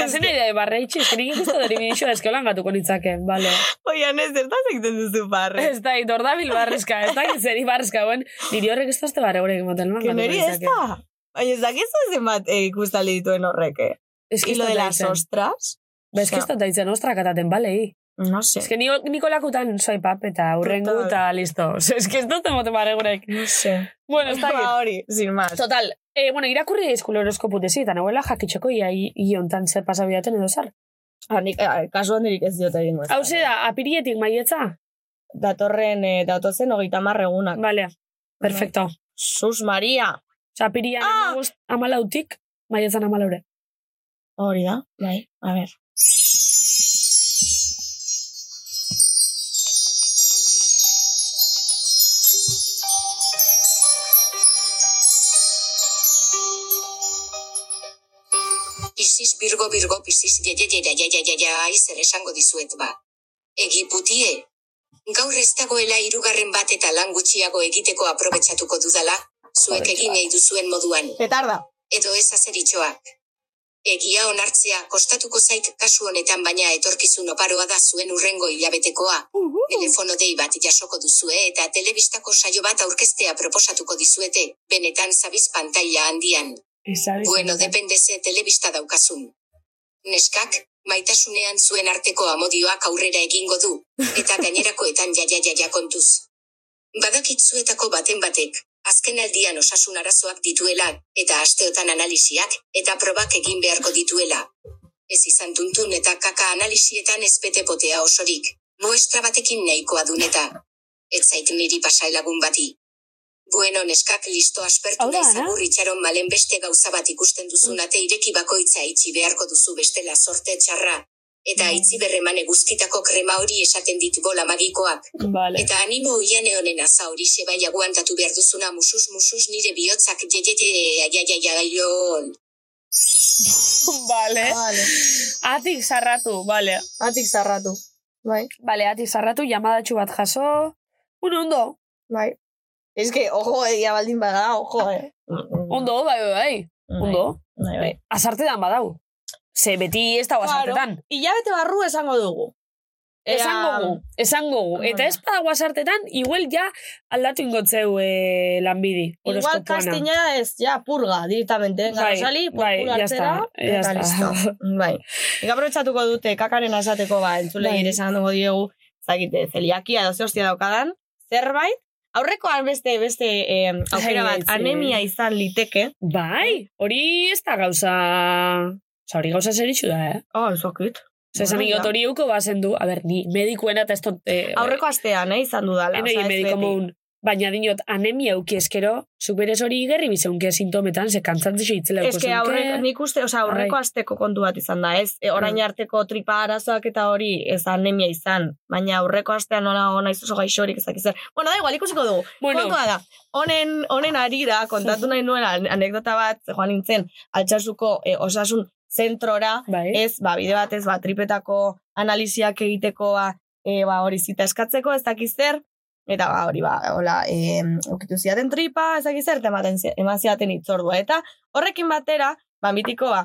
Zen nahi da, barra itxi, zen ikin guztu dori bidixo, ez que holan gatuko nitzaken, bale.
Oian ez, zertaz egiten duzu barre.
Ez da, itordabil barrezka, ez da, zeri barrezka, buen, niri horrek ez tozte barre horrek motel, man,
Que niri ez da. Baina ez dakizu zenbat eh, ikustali dituen horrek, eh?
Ez que
Y
ez
lo de
dut
las
daitzen.
ostras.
Ba, ez que ez dut daitzen ostrak ataten, balei.
No sé.
Ez que niko, nikolakutan soy pap eta aurrengo
Total.
eta listo. Ose, Ez que ez dut emoten barre horrek.
No sé.
Bueno, ez da,
Ba, hori, sin más.
Total, eh, bueno, irakurri daizkulo horoskopu tesi, eta nahuela jakitxeko ia iontan zer pasabidaten edo zer.
Ah, nik, eh, kasu handirik ez diote egingo. ez.
Hau ze da, apirietik maietza?
Datorren, eh, datozen hogeita marregunak.
Vale, perfecto.
Sus Maria!
Osa, apirian
Bai. Ah!
amabost, amalautik, maietzan amalaure.
Hori da, bai, a ber.
Isis birgo birgo pisis ye ye ye ya ya ya ya ya aizer esango dizuet ba. Egiputie. Gaur ez dagoela hirugarren bat eta lan gutxiago egiteko aprobetxatuko dudala, zuek egin nahi duzuen moduan,
Petarda!
edo ez azeritxoak. Egia onartzea kostatuko zait kasu honetan baina etorkizun oparoa da zuen urrengo hilabetekoa. Telefono dei bat jasoko duzue eta telebistako saio bat aurkeztea proposatuko dizuete, benetan zabiz pantaila handian.
Ezabiz.
Bueno, depende ze telebista daukazun. Neskak, maitasunean zuen arteko amodioak aurrera egingo du, eta gainerakoetan jaia jaia kontuz. Badakitzuetako baten batek, azken aldian osasun arazoak dituela, eta asteotan analisiak, eta probak egin beharko dituela. ez izan tuntun eta kaka analisietan ez betepotea osorik, muestra batekin nahikoa duneta. Ez zait niri pasailagun bati. Bueno neskak listo aspertu
Hau da,
naiz
Ana?
agur itxaron malen beste gauza bat ikusten duzun ate ireki bakoitza itxi beharko duzu bestela sorte txarra.
Mm.
Eta itzi berreman eguzkitako krema hori esaten dit bola magikoak.
Vale.
Eta animo oian eonen aza hori bai aguantatu behar duzuna musuz musuz nire bihotzak jejete aiaiaiaion.
Vale.
Vale.
Atik zarratu.
Vale. Atik zarratu. Bai.
Vale, atik zarratu, jamadatxu bat jaso. Bueno, ondo.
Bai. Ez que, ojo, egia baldin bada, ojo, eh.
Ondo, bai, bai, bai. Ondo.
Bai, bai.
Azartetan badau. Ze beti ez dago
Claro.
azartetan.
Ilabete barru esango dugu. Ea-
Esango gu, esango gu. Eta ez badago azartetan, igual ja aldatu ingotzeu eh, lanbidi.
Igual
horoskopoana.
castingera ez, ja, purga, directamente. Venga,
Bai,
Rosali, por
bai,
culo
ya
hartzera,
está, ya
eta
está.
listo. Bai. Ega aprobetsatuko dute, kakaren asateko, ba, entzule
Bai.
bai. esan dugu diegu, zakite, zeliakia edo ze hostia daukadan, zerbait, aurrekoan beste, beste eh, aukera
Ai,
bat,
ez,
anemia izan liteke.
Bai, hori ez da gauza... Osa, hori gauza zer da, eh?
Oh, ezokit.
Osa, esan
Bueno,
digot
ja.
hori euko bazen du. A ber, ni medikuena eta ez dut... Eh,
Aurreko astean, eh, izan dudala.
Enegi
osea, ez
mediko
beti.
moun. Baina dinot, anemia euki eskero, zuk berez hori gerri bizeunke sintometan, ze kantzantzizu itzeleuko
Ez que aurreko, nik uste, oza, aurreko
Bai.
asteko kontu bat izan da, ez? E, orain arteko tripa arazoak eta hori ez anemia izan, baina aurreko astean nola ona izoso gaixorik ezak izan. Bueno, da igual, ikusiko dugu.
Bueno.
Kontua da, honen, honen arira, kontatu nahi nuen an- anekdota bat, ze joan nintzen, altxasuko eh, osasun zentrora,
Bai.
ez, ba, bide batez, ba, tripetako analiziak egiteko, ba, eh, ba, hori zita eskatzeko, ez dakiz zer, Eta ba, hori ba, hola, eh, ukitu ziaten tripa, ezakiz zer, eta ematen zi- eman ziaten itzordua. Eta horrekin batera, ba, mitikoa,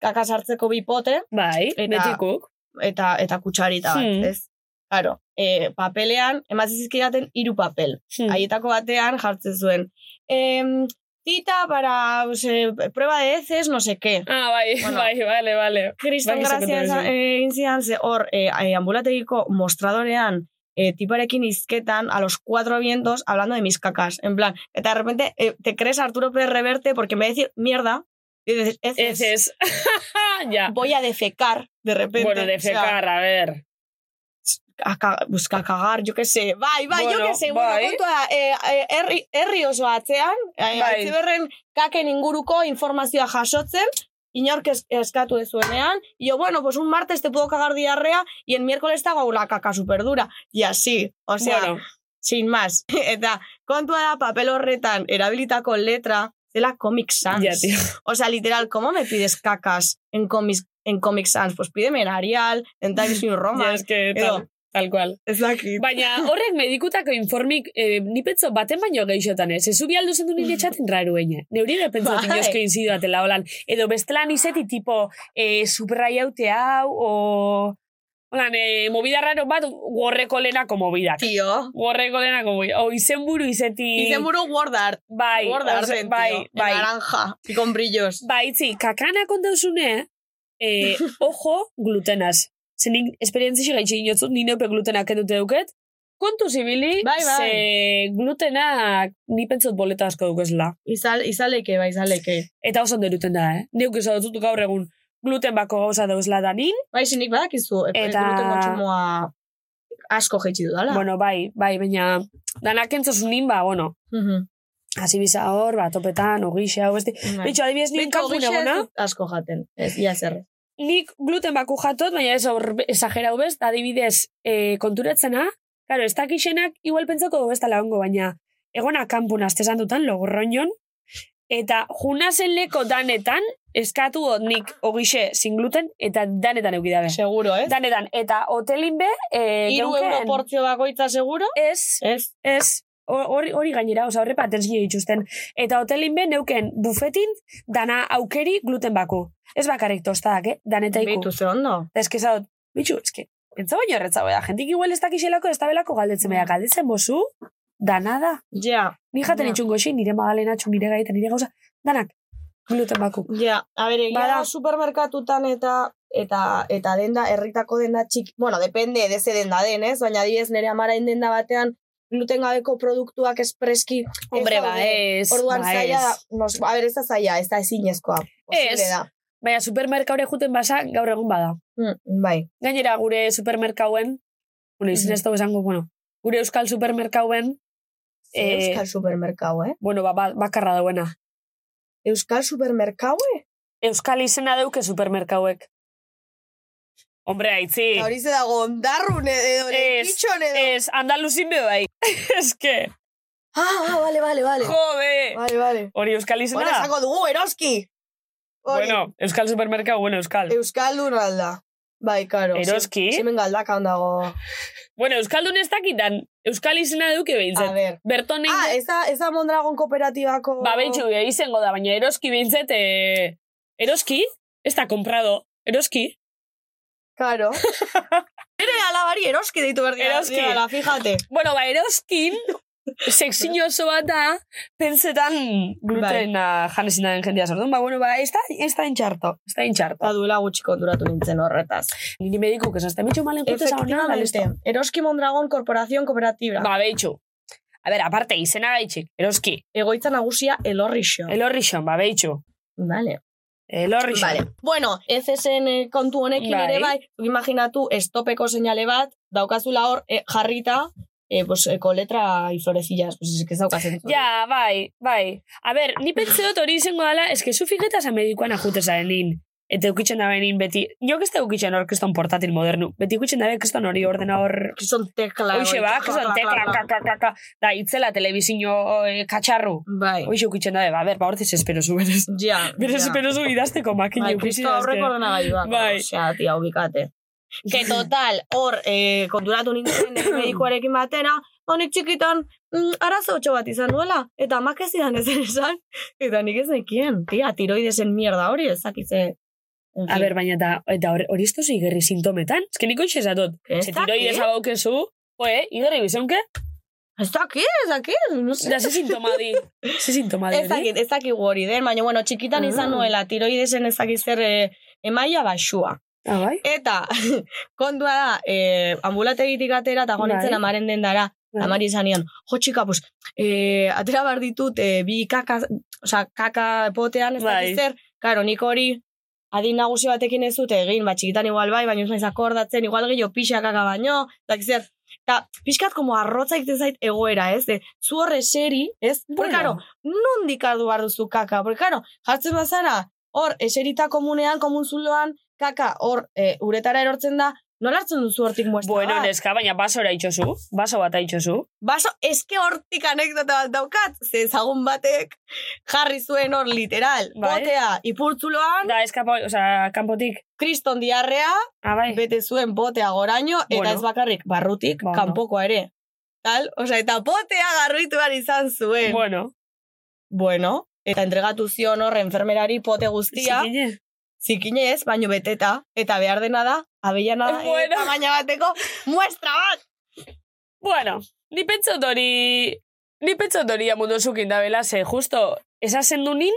kaka sartzeko bi pote,
Bai,
Eta-
betikuk.
eta, eta kutsarita bat,
Hmm.
ez? Claro, eh, papelean, emazizizkidaten hiru papel
Hmm.
haietako batean jartzen zuen. Em, cita para pues, eh, prueba de heces, no sé qué.
Ah, bai,
Bueno.
bai, vale, vale.
Kriston
Bai, ez
grazia
dakit
eza-
hori.
eh, egin zidan, ze hor, eh, ambulategiko mostradorean, eh, tiparekin izketan, a los cuatro vientos, hablando de mis cacas. En plan, eta de repente, eh, te crees Arturo Pérez Reverte, porque en vez de decir mierda, dices,
Ez
heces,
ez. ja.
voy a defecar, de repente.
Bueno, de
O sea,
fecar, a ver.
a, ca- pues, a cagar, yo que sé. Bai,
Ah.
bai,
Bueno,
yo que sé. Bueno,
bai.
kontua da, eh, eh, herri, herri oso atzean, eh,
Bai.
Aitziberren kaken inguruko informazioa jasotzen, inork es- eskatu dezuenean, y yo, bueno, pues un martes te puedo cagar diarrea, y el miércoles te hago la caca superdura. Y así, o sea,
bueno,
sin más. Eta, kontua da papel horretan, erabilitako letra, zela Comic Sans.
ja, tío.
O sea, literal, ¿cómo me pides cacas en Comic, en comic Sans? Pues pídeme en Arial, en Times New
Ja,
Roman.
es que
edo.
tal, tal cual.
Ez dakit.
Baina horrek medikutako informik eh, nipetzo baten baino geixotan eh. ez. Ezu bialdu zendu nire txaten raru eine. Neuri ere pentsatu
Mm. Bai.
jozko inziduatela holan. Edo bestelan izeti tipo eh, superrai haute hau o... Holan, eh, movida raro bat gorreko lenako movidak.
Tio.
Gorreko lenako movidak. O izenburu izeti...
Izenburu Word Art.
Bai,
Word Art,
ose-
tío.
bai,
En
bai.
Naranja. Y con brillos.
Bai, itzi, kakana kontauzune, eh, ojo glutenaz. Ze nik esperientzio gaitxik inotzut, ni neupe glutenak edute duket. Kontu zibili,
Bai, bai.
ze glutenak ni pentsot boleta asko dukezla.
Izal, izaleke, bai, izaleke.
Eta oso ondo eruten da, eh? Neuk esan dut gaur egun gluten bako gauza dauzela danin.
Bai, sinik badakizu,
Eta-
eta... gluten kontsumoa asko jetxi dudala.
Bueno, zunin, bai, bai, baina danak entzosunin, ba, bueno,
Mhm.
hasi biza hor, ba, topetan, ogixe, hau, beste.
Bai.
Bitxo, adibidez, nien
Betiko
kampun
gisa ez
egona.
dut Asko jaten. Ez, ia zer.
nik gluten baku jatot, baina ez hor esagerau bez, adibidez e, konturatzena, claro, ez dakixenak igual pentsako dugu ez dala ongo, baina egona kanpun azte esan dutan, logorroñon, eta junazen leko danetan, eskatu dut nik ogixe sin gluten, eta danetan eukidabe.
Seguro, ez?
Danetan, eta hotelin be, e,
Hiru
geuken-
euro portzio bakoitza seguro.
Ez,
Ez.
ez, hor- hori hori gainera, oza, horre patentzio dituzten. Eta hotelin be, neuken bufetin, dana aukeri gluten baku. Ez bakarrik tostadak, eh? Danetaiku.
Bitu ze ondo.
Da, eske zaut, bitxu, eske, pentsa baino erretzago da. Jentik igual ez dakixelako ez dabelako galdetzen bera. Galdetzen bozu, dana da.
Ja,
Ni jaten
Ja.
itxungo xin, nire magalena txun, nire gaita, nire gauza. Danak, gluten baku.
ja. A ber, egia
Bada-
da supermerkatutan eta eta eta denda, herritako denda txiki, bueno, depende de ze denda den, ez? Baina diez nire amarain denda batean gluten gabeko produktuak espreski ez daude.
ez.
Orduan
ba,
zaila da,
ez.
nos, a ber, ez da zaila, ez da ezinezkoa. Posible
Ez.
da.
Baina supermerkaure juten basa gaur egun bada.
Mm, bai.
Gainera gure supermerkauen, bueno, izin ez dugu esango, bueno, gure euskal supermerkauen, eh,
Euskal supermerkau, eh?
bueno, ba, ba- bakarra dauena.
Euskal eh?
Eh.
supermerkaue?
Euskal izena deuke supermerkauek. Hombre, aitzi.
Eta Hori ze dago ondarrun edo
Ez, Eh.
lekitxon edo.
Ez, andaluzin be bai. Ez que,
Ah, ah, vale, vale, vale.
jode.
Vale, vale.
Hori euskal izena
Bueno,
da.
esango dugu, eroski. Hori,
Bueno, euskal supermerkau, bueno, euskal.
Euskaldun alda. Bai, karo.
Eroski?
Zemen galdaka handago.
Bueno, euskaldun ez dakitan. Euskal izena deuke
A
behintzat.
ver.
Berton egin...
Ah, ez da, ez da Mondragon kooperatibako...
Ba, behitxu, eh, izango da, baina eroski behintzat... Eh, eroski? Ez da comprado. Eroski?
Karo. Ere alabari eroski deitu berdi.
Eroski.
Dira, fíjate.
Bueno, ba, eroskin... Sekzin oso bat da, pentsetan ah, glutena bai. janezina den jendea sortu. Ba, bueno, ba, ez da, ez da intxarto. Ez da intxarto.
Ba, duela gutxiko duratu nintzen horretaz.
Niri medikuk esazte mitxo malen jutez hona, la listo.
Efectivamente. Eroski Mondragon Korporazion Kooperatibra.
Ba, behitxu. A ber, aparte, izena gaitxik, eroski.
Egoitza nagusia elorrixo.
Elorrixon, ba, behitxu.
Vale.
Elorrixon.
Vale. Bueno, FSN kontu honekin
Bai.
ere bai, zuk imaginatu estopeko seinale bat, daukazula hor eh, jarrita, eh, pues, eko letra y florecillas, pues es que ez daukazen.
Ja, bai, bai. A ber, ni pentsa dut hori izango dela, eske zu fijetaz amedikoan ajute zarenin. Eta eukitzen da benin beti, jo ez da eukitzen hor kriston portatil modernu, beti eukitzen da be kriston hori ordena hor...
Kriston tekla.
Hoxe
hori,
ba,
kla,
kriston
kla,
tekla,
kla,
ka,
kla.
ka, ka, ka, da, itzela telebizino eh, katxarru.
Bai.
Hoxe eukitzen da, be, ba, ber, ba, hortez espero zu berez.
Ja.
Berez
ja.
espero zu idazteko makina
Bai,
eukitzi
kristo aurreko
dazke.
ordenagailua.
Bai.
Osea, tia, ubikate. Que total, hor, eh, konturatu nintzen nire eh, medikuarekin batera, honek txikitan, mm, arazo otxo bat izan duela, eta amak ez zidan ezer esan, eta nik ez nekien, tia, tiroidesen mierda hori, ezakitze. En fin,
A ber, baina eta, eta hor- hori esto igerri sintometan? Ez que nik hoxe esatot.
Ez
Se
dakit.
tiroides abaukezu, oe, igerri bizonke,
ez dakit, ez dakit, no sé.
da ze sintomadi. Ze sintomadi,
Ez dakit, ez dakit hori den, baina, bueno, txikitan izan
Ah.
nuela, tiroidesen ezakit zer eh, emaia baxua.
Ah, bai?
Eta, kontua da, eh, ambulategitik atera, eta joan nintzen
Bai.
amaren dendara,
Bai.
amari izan nion, jo txika, pues, eh, atera behar ditut, eh, bi kaka, oza, kaka potean, ez
Bai.
dakit zer, karo, nik hori, adin nagusi batekin ez dut egin, bat txikitan igual bai, baina ez naiz akordatzen, igual gehiago pixa kaka baino, ez dakit zer, eta pixkat como arrotza egiten zait egoera, ez, de, zu horre eseri, ez, bueno. karo, nondik hartu behar duzu kaka? Porque, claro, jartzen bazara, hor, eserita komunean, komun zuloan, kaka, hor, e, uretara erortzen da, nola hartzen duzu hortik muestra
Bueno,
bat?
neska, baina basora itxozu, baso bat itxozu.
Baso, eske hortik anekdota bat daukat, ze ezagun batek jarri zuen hor literal,
Bai.
botea ipurtzuloan,
Da, eskapo, oza, kanpotik.
kriston diarrea,
Ah, bai.
bete zuen botea goraino, eta
Bueno.
ez bakarrik barrutik,
Ba, ondo.
kanpokoa ere. Tal? Osa, eta botea garritu behar izan zuen.
Bueno.
Bueno, eta entregatu zion hor enfermerari pote guztia.
Zikine.
Zikine ez, baino beteta, eta behar dena da, abeiana da,
Bueno.
tamaina bateko, muestra bat!
Bueno, ni pentsot hori... Ni pentsot hori amundozukin da bela, ze, justo, esa zendu nin,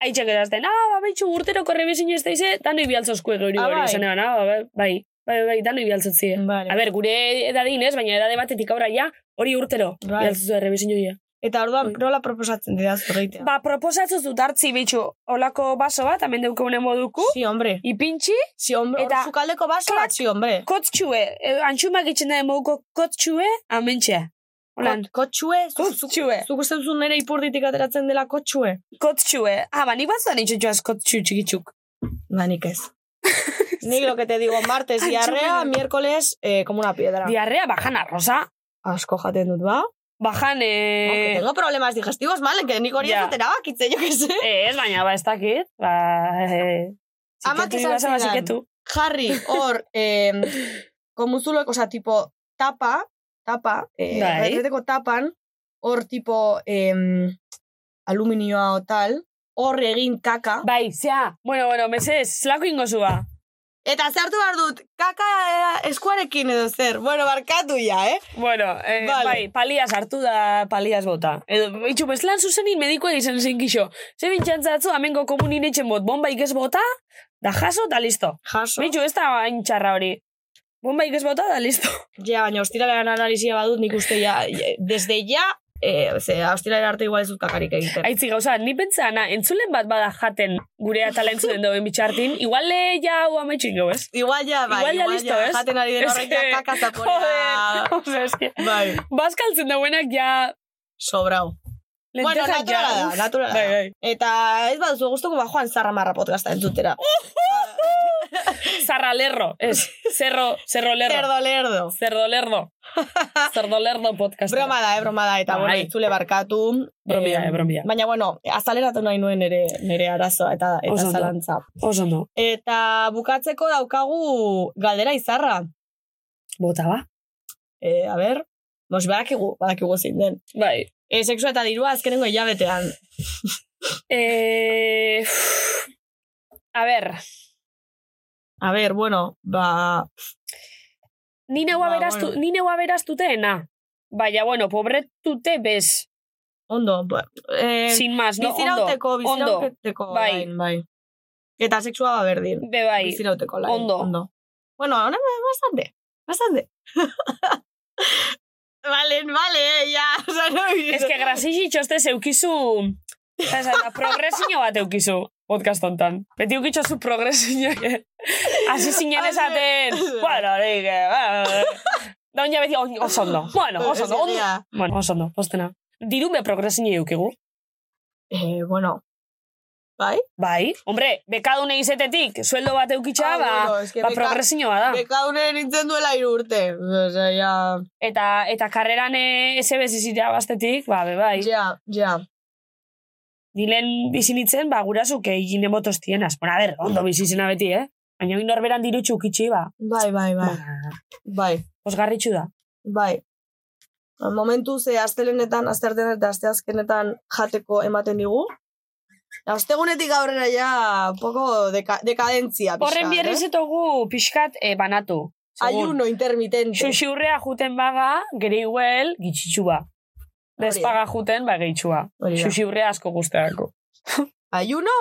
haitxek edazten, ah, ba, behitxu urtero korre bezin ez daize, dano ibialtzozku egori
Ah,
hori,
bai.
zanean, ah, ba, bai, bai, bai, dano ibialtzotzie.
Vale.
A ber, gure edadin ez, baina edade batetik aurra ja, hori urtero,
Bai.
bai. bialtzozu errebezin
Eta orduan,
Oi.
nola proposatzen dira zorreitea?
Ba, proposatzu zut hartzi bitxu olako baso bat, hemen deukeunen moduku,
Si, hombre.
ipintxi,
Si, hombre,
Eta-
eta... sukaldeko baso
Klak.
bat, si, hombre.
kotztxue, e, antxumak itxen da emoguko kotztxue, amentxe. Holan,
Kot, kotxue, zu- zu-
Kotxue.
zuk uste duzu nere ipurditik ateratzen dela kotxue?
kotztxue. Ah, ba, nik batzuan itxutxu kotztxu txikitzuk.
Ba, nik ez. Nik lo que te digo, martes
Antxu
diarrea,
mena.
miércoles, eh, como una piedra.
Diarrea bajan arroza,
Asko jaten dut, ba?
bajan,
Aunque
eh...
tengo problemas digestivos, male, que nik hori ez
Ja.
dut erabakitze, jo que se.
Ez, baina, ba, ez dakit, ba... Eh,
Amak
ziketu
esan
ibasa, ba,
zidan.
ziketu.
jarri hor eh, komuzulok, oza, tipo, tapa, tapa, eh,
Bai.
erreteko tapan, hor tipo eh, aluminioa o tal, hor egin kaka.
Bai, zea, bueno, bueno, meses, zelako ingozu ba.
Eta zertu behar dut, kaka eh, eskuarekin edo zer. Bueno, barkatu ja, eh?
Bueno, eh,
Vale.
bai, palias hartu da palias bota. Edo, itxu, bezlan zuzenin medikoa izan zen gixo. Ze bintxantzatzu, amengo komunin etxen bot, bomba ikes bota, da jaso, da listo.
Jaso.
Bitxu, ez da hain txarra hori. Bomba ikes bota, da listo.
Ja, baina ostiralean analizia badut nik uste ja, ja, desde ja e, ze, austilara arte igual ez dut kakarik egiten.
Aitzi gauza, ni pentsa, na, entzulen bat bada jaten gure atala entzulen dauen bitxartin, igual le ja hau ametxin gau, ez?
Igual ja, bai,
Igual ja listo, ez?
jaten ari den horrek
Ez, eh,
ja kakataponea.
Joder, oza, eske.
Bai,
Bazkaltzen dauenak ja...
sobrau. Bueno,
lentejak ja,
naturala da,
uf.
naturala
Bai,
da.
bai.
Eta ez baduzu gustuko ba joan zarra marra podcasta entzutera.
Zarralerro, ez. Zerro, zerrolerro.
Lerdo, lerdo.
Zerdolerdo. Zerdolerdo podcast.
Broma da, eh, broma da, eta bueno,
Bai.
itzule barkatu.
Bromia, eh, bromia.
Baina, bueno, azaleratu nahi nuen nere, nere arazoa eta, eta
Oso ondo.
zalantza.
Oso no.
Eta bukatzeko daukagu galdera izarra.
Bota, ba?
E, a ber, mos, badakigu, badakigu zein den.
Bai.
E, seksua eta dirua azkenengo hilabetean.
Eh, a ber,
A ber, bueno, ba...
ni neua
Ba,
beraztu,
bueno.
ni neua beraztuteena. Baina, bueno, pobretute bez.
Ondo, ba, e,
Sin más, no?
bizirauteko,
ondo, ondo.
bizirauteko,
bai.
lain, bai. Eta seksua ba berdin.
Be bai,
Bizirauteko, lain.
ondo.
ondo. Bueno, honen bastante, bastante. Valen, vale, ya, oza, no,
Ez que grasixi txoste zeukizu... Eta progresio bat eukizu podcast hontan. Beti eukitxozu progresio. Hasi zinen
Hasi-
esaten... Bueno, nire... Da oin beti "Oin, oso ondo. Bueno, oso ondo. ondo. Bueno, oso ondo, postena. Dirume progresio eukigu.
Eh, bueno, bai?
Bai. Hombre, bekadune izetetik, sueldo bat eukitxa,
Ah,
ba,
bueno, es que
ba
beka-
progresioa da.
Bekaune nintzen duela hiru urte. Osea, ja,
Eta, eta karreran eh, SBS izitea bastetik, ba, be, bai.
ja, ja.
Nilen bizi nintzen, ba, gurasuk egin emotoz tienaz. Bueno, a ber, ondo bizi zena beti, eh? Baina oin norberan dirutxu kitxi, ba.
Bai, bai,
ba.
bai. Bai,
Osgarritxu da.
bai. Momentu ze astelenetan, asterten eta asteazkenetan jateko ematen digu. Astegunetik aurrera ja poko deka, dekadentzia pixka.
Horren bierriz
eh?
ditugu pixkat eh, banatu. Segun.
Ayuno intermitente.
Xuxurrea juten baga, geri huel, gitxitxua.
da.
Despaga juten, ba, gehitxua.
Hori da.
Xuxurrea asko guzteako.
Ayuno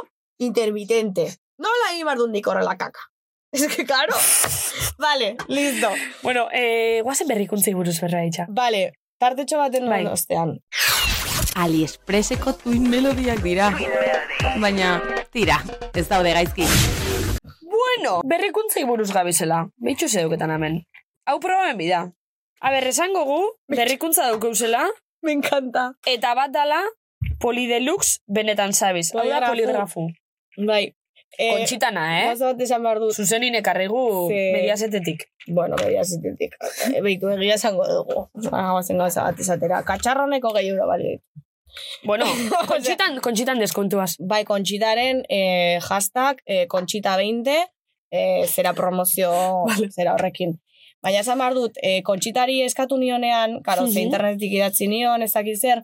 intermitente. Nola egin behar dundik horrela kaka. Es que, claro. vale, listo.
Bueno, eh, guazen berrikuntzei buruz berra itxa.
Vale, tartetxo baten
Bai.
bai. ostean.
Aliexpreseko tuin melodiak dira. Baina, tira, ez daude gaizki.
Bueno, berrikuntzei buruz gabizela. Beitxu zeuketan hemen. Hau probamen bida. A ber, esango gu, berrikuntza daukeuzela,
Me encanta.
Eta bat dala, polidelux benetan zabiz. Hau da
Poligrafo.
poligrafo.
Bai. Eh,
Kontxitana, eh?
Gauza bat esan behar dut.
Zuzenin ekarrigu
Ze-
mediazetetik.
Bueno, behi azitetik. Eh, Beitu egia esango dugu. Hagazen gauza bat esatera. Katxarroneko gehi euro balio.
Bueno, kontxitan, kontxitan deskontuaz.
Bai, kontxitaren eh, hashtag eh, kontxita20 eh, zera promozio zera horrekin. Baina esan behar dut, eh, kontxitari eskatu nionean, karo, ze
Mhm.
internetik idatzi nion, ez dakit zer,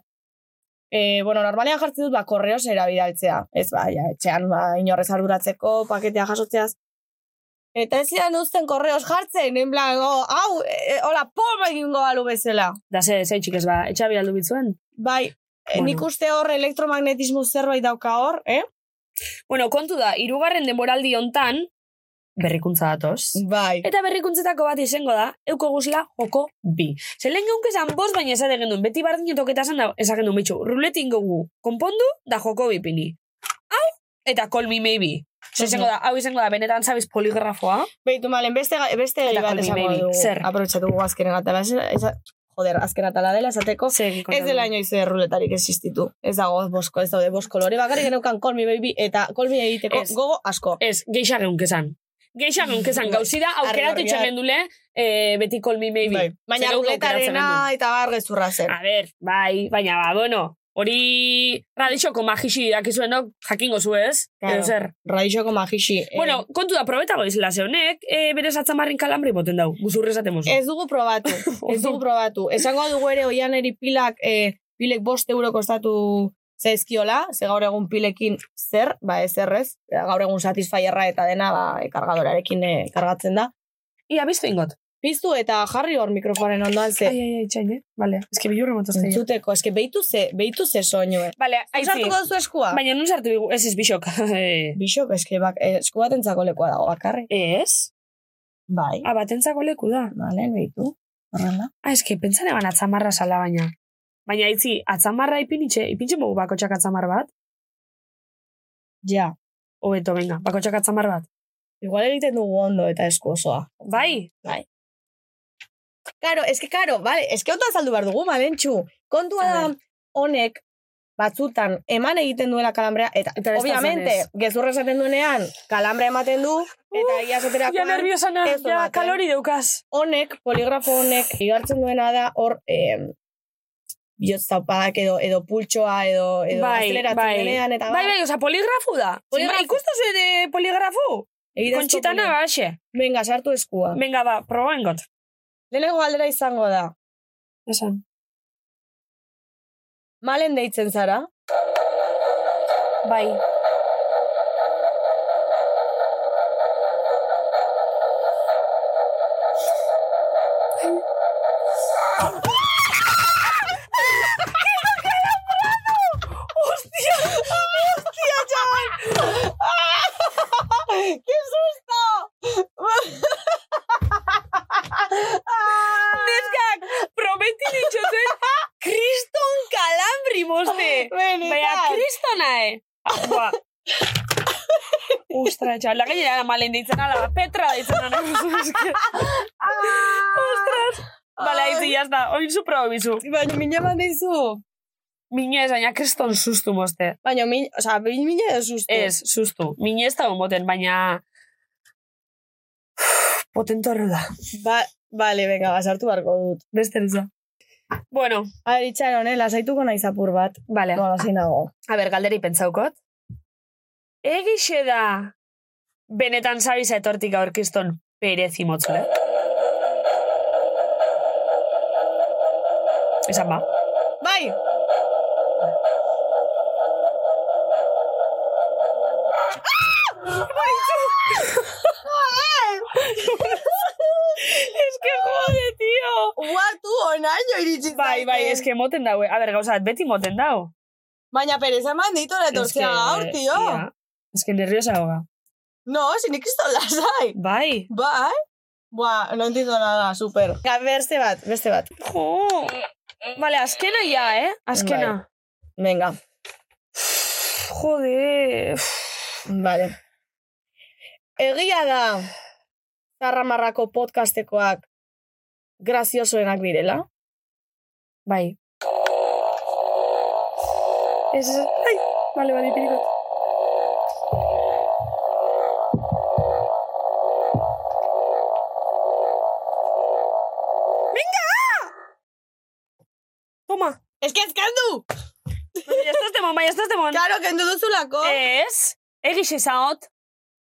eh, bueno, normalean jartzen dut, ba, korreos erabidaltzea. Ez, ba, ja, etxean, ba, inorrez arduratzeko, paketea jasotzeaz. Eta ez zidan uzten korreos jartzen, en plan, oh, hau, e, e, hola, pom egingo balu bezala.
Da ze, ze txikez ba, etxabi aldu bitzuen.
Bai, bueno. nik
Bueno.
uste hor elektromagnetismo zerbait dauka hor, eh?
Bueno, kontu da, hirugarren denboraldi hontan berrikuntza datoz.
Bai.
Eta berrikuntzetako bat izango da, euko guzila joko bi. Ze lehen geunk esan bost, baina esaten genuen, beti bardin etoketan da, esaten genuen bitxu, ruletin gogu, konpondu, da joko bipini. Hau, eta call me maybe. Ze izango da, hau izango da, benetan zabiz poligrafoa.
Beitu Bai, malen, beste, ga- beste gai
Eta
bat
Call Me
esango
Maybe.
dugu.
Zer?
Aprobetxatu dugu azkenen atala. Ez, ez- joder, azken atala dela esateko.
Ze,
Ez dela inoiz erruletarik existitu. Ez dago bosko, ez daude bosko lore. Bakarrik geneukan Call Me Baby eta Call Me egiteko
Ez. Eh,
gogo asko.
Ez, geixa geunk esan. Geixa geunk esan,
Bai.
gauzi da, aukeratu
Argi, argi.
itxagen dule, eh, beti call me maybe.
Bai. Baina
Zer geuk aukeratzen
ruletarena
genuen.
eta bar gezurra zen.
A ber, bai, baina ba, bueno, hori radixoko magixi dakizuenok jakingo zu ez?
Claro.
Edo zer.
Radixoko magixi. eh,
Bueno, kontu da, probeta goizela ze honek, e, bere zatzamarren kalambri boten dau, guzurre esaten mozu.
Ez dugu probatu. ez dugu probatu. Esango dugu ere oianeri pilak, eh, pilek bost euro kostatu zaizkiola, ze gaur egun pilekin zer, ba ez errez, gaur egun satisfaierra eta dena ba, kargadorarekin eh, kargatzen da.
Ia, biztu ingot.
Piztu eta jarri hor mikrofonen ondoan ze
ai, ai, txain, eh? Vale, ez que bilurre motozte.
entzuteko, eske beitu ze, beitu ze soinu, eh.
Vale, aitzi,
Usartuko duzu eskua?
baina nun sartu bigu, ez ez bixok.
Bixok, eske bak, eh, esku batentzako lekoa dago bakarri.
ez?
Bai.
Abatentzako leku da.
Bale, beitu. Horrela.
Ah, eske, pentsan eban atzamarra sala baina. Baina itzi, atzamarra ipinitxe, ipintxe mogu bakotxak atzamar bat?
Ja.
Obeto, venga, bakotxak atzamar bat.
Igual egiten dugu ondo eta esku osoa.
Bai?
Bai. Karo, eske, karo, bale, eske ondo azaldu behar dugu, malentxu. Kontua da, honek, batzutan, eman egiten duela kalambrea, eta,
Eta ez da
obviamente,
zenez.
gezurra esaten duenean, kalambrea ematen du, eta
Uf,
ia esatera
Ja nerviosa na,
ez
ja
ematen.
kalori deukaz.
honek, poligrafo honek, igartzen duena da, hor, eh, bihotzaupadak edo, edo pultsoa, edo, edo azeleratzen denean, eta
bai, bai, oza, poligrafu da.
Poligrafo.
Poligrafo. Ikustu zuen eh, poligrafu?
Egidazko
Kontxitana ba-
poligrafo.
baxe.
Venga, sartu eskua.
Venga, ba, proba engot.
Lehenengo galdera izango da.
Esan.
Malen deitzen zara?
Bai.
¡Hostia, chaval! Ah, ¡Qué susto! Ah,
Neskak, prometi ditxoten, kriston kalambri moste. Baina, kristona, eh? Ah, ba. Ostra, txal, la gainera malen deitzen ala, Petra deitzen ala. Ostras. Bale, haitzi, jazta, oizu proba, oizu.
Baina, mina bat dizu.
Mina ez, baina kriston sustu moste.
Baina, min, o sea, min mina ez susto.
Ez, sustu. Mina ez da gomoten, baina... Potentorro da.
Ba, vale, venga, basartu barko dut.
Beste duza. Bueno,
A ber, itxaron, eh, lasaituko naiz apur bat.
vale.
No, lasai nago.
A ber, galderi pentsaukot. Egixe da benetan zabiza etortik aurkiston perez imotzule. Esan ba.
Bai!
Es que jode, tío.
Ua, tu, onaino iritsi
Bai, bai,
zaitez.
es que moten daue. A ber, gauzat, beti moten dau.
Baina, pereza eman ditu la
Eske,
tortzea gaur, tio.
ia. Es que nerviosa hoga.
No, sinik kriston lasai.
Bai.
Bai? Buah, no entiendo nada, super. Ga, beste bat, beste bat.
Jo. Vale, azkena ja, eh? Azkena.
Venga,
Jode.
vale. Egia da, zarramarrako podcastekoak graziosoenak direla.
Bai. Ez, ez, ai, bale, bale, pirikot. Toma.
Ez que ezkendu!
Baina ez dut emon, baina ez dut emon.
Claro, kendu duzulako.
Ez, egixe zaot.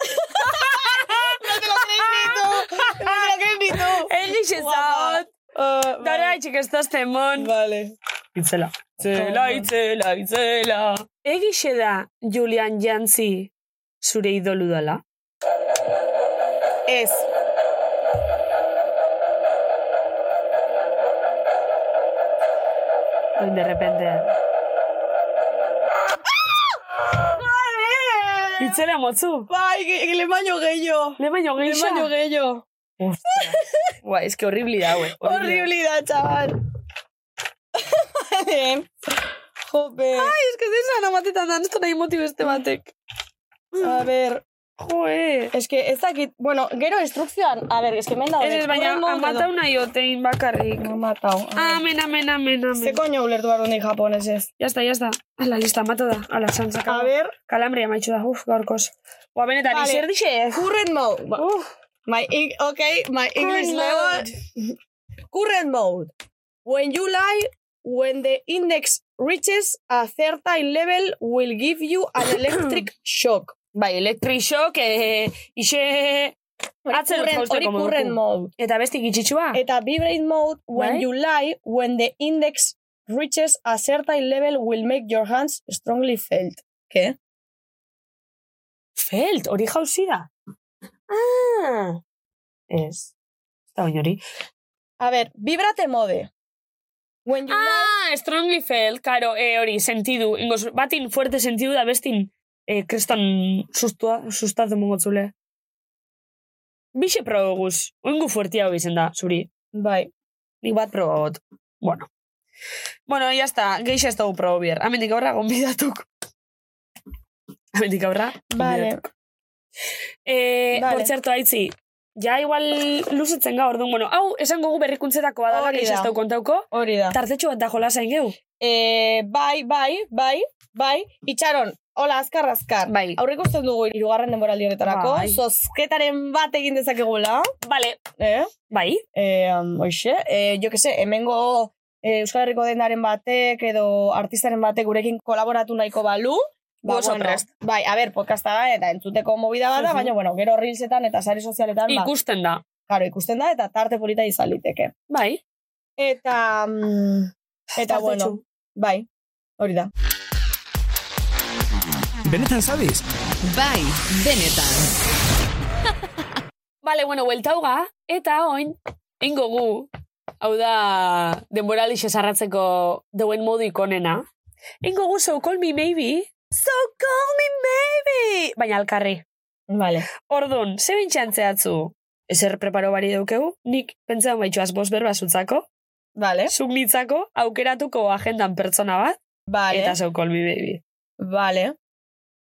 No te lo crees ni tú. No te lo crees ni tú.
Egixe
Guapa.
zaot.
Uh,
Dara etxik ez dut emon.
Vale.
Itzela. Itzela, itzela, itzela. Egixe da Julian Jantzi zure idolu dela?
Ez.
Oin de repente. Itzela motzu.
Bai, que, que le baño gehiago.
Le baino
Le
geisha.
baño gehiago.
Ua, eske horribli da, hue.
Horribilidad, chaval. Vale. Jope.
Eske zizan amatetan dan, ez da nahi motibo este batek.
A ver,
Joe.
es que ez dakit, bueno, gero instrukzioan, a ver, es que menda
Ez ez, baina amatau nahi otein bakarrik.
Amatau.
Amen, amen, amen,
Ze
amen.
koño ulertu behar dut nik japonesez.
Ya está, ya está. Ala, ya está, amatu da. Ala, santzak.
A ver,
Kalambria maitxu da, uf, gaurkoz. Ua, benetan,
Vale.
izer dixe.
current mode. Ba-
Uf,
My, Eng- okay, Oh my English level. Current mode. When you lie, when the index reaches a certain level, will give you an electric shock.
Bai, elektrisok, eh, ixe... Atzen
Current-
jauzteko
hori
moduko.
current mode.
Eta beste gitxitsua?
Eta vibrate mode, when
Bai.
you lie, when the index reaches a certain level, will make your hands strongly felt. ¿Qué?
Felt, hori jauzi da. Ah. Ez. Eta bain hori.
A ver, vibrate mode. When you lie,
Ah, strongly felt, karo, eh, hori, sentidu. Ingoz, batin fuerte sentidu da bestin eh, kreston sustua, sustatu mongotzule. Bixe proboguz. Oingu fuertia hau izen da, zuri.
bai.
Nik bat probagot. Bueno. Bueno, ya está, geixa ez dugu probo bier. Hamendik aurra, gonbidatuk. Hamendik aurra,
Vale.
gonbidatuk. Eh,
Vale.
Por txerto, aitzi, ja igual luzetzen gaur duen, bueno, hau, esango gu berrikuntzetako da,
Hori
geixa ez
da.
dugu kontauko.
Hori da.
Tartetxo bat da jolasain geu.
Eh, bai, bai, bai, bai. Itxaron, hola, azkar, azkar.
Bai.
Aurre ikusten dugu irugarren denboraldi honetarako.
Bai.
Zozketaren bat egin dezakegula.
Vale,
Eh?
bai.
Eh, um, oixe, eh, jo que se, hemengo eh, Euskal Herriko dendaren batek edo artistaren batek gurekin kolaboratu nahiko balu.
Gu oso prest.
bai, a ber, podcasta da, eta entzuteko movida bada,
Mhm.
baina, bueno, gero reelsetan eta sare sozialetan, ba,
Ikusten da.
claro, ikusten da, eta tarte polita izaliteke.
Bai.
Eta, mm, eta
Tartetxo.
bueno, bai, hori da.
Benetan zabiz?
Bai, benetan.
Bale, bueno, hueltauga, eta oin, ingo gu, hau da, denbora lixe sarratzeko deuen modu ikonena. Ingo gu, so call me maybe, so call me maybe, baina alkarri.
Vale.
Ordun, ze bintxean zehatzu? Ezer preparo bari daukegu, nik pentsan baitxoaz bost berbasutzako,
Vale,
zuk nitzako, aukeratuko agendan pertsona bat,
vale,
eta so call me maybe.
vale,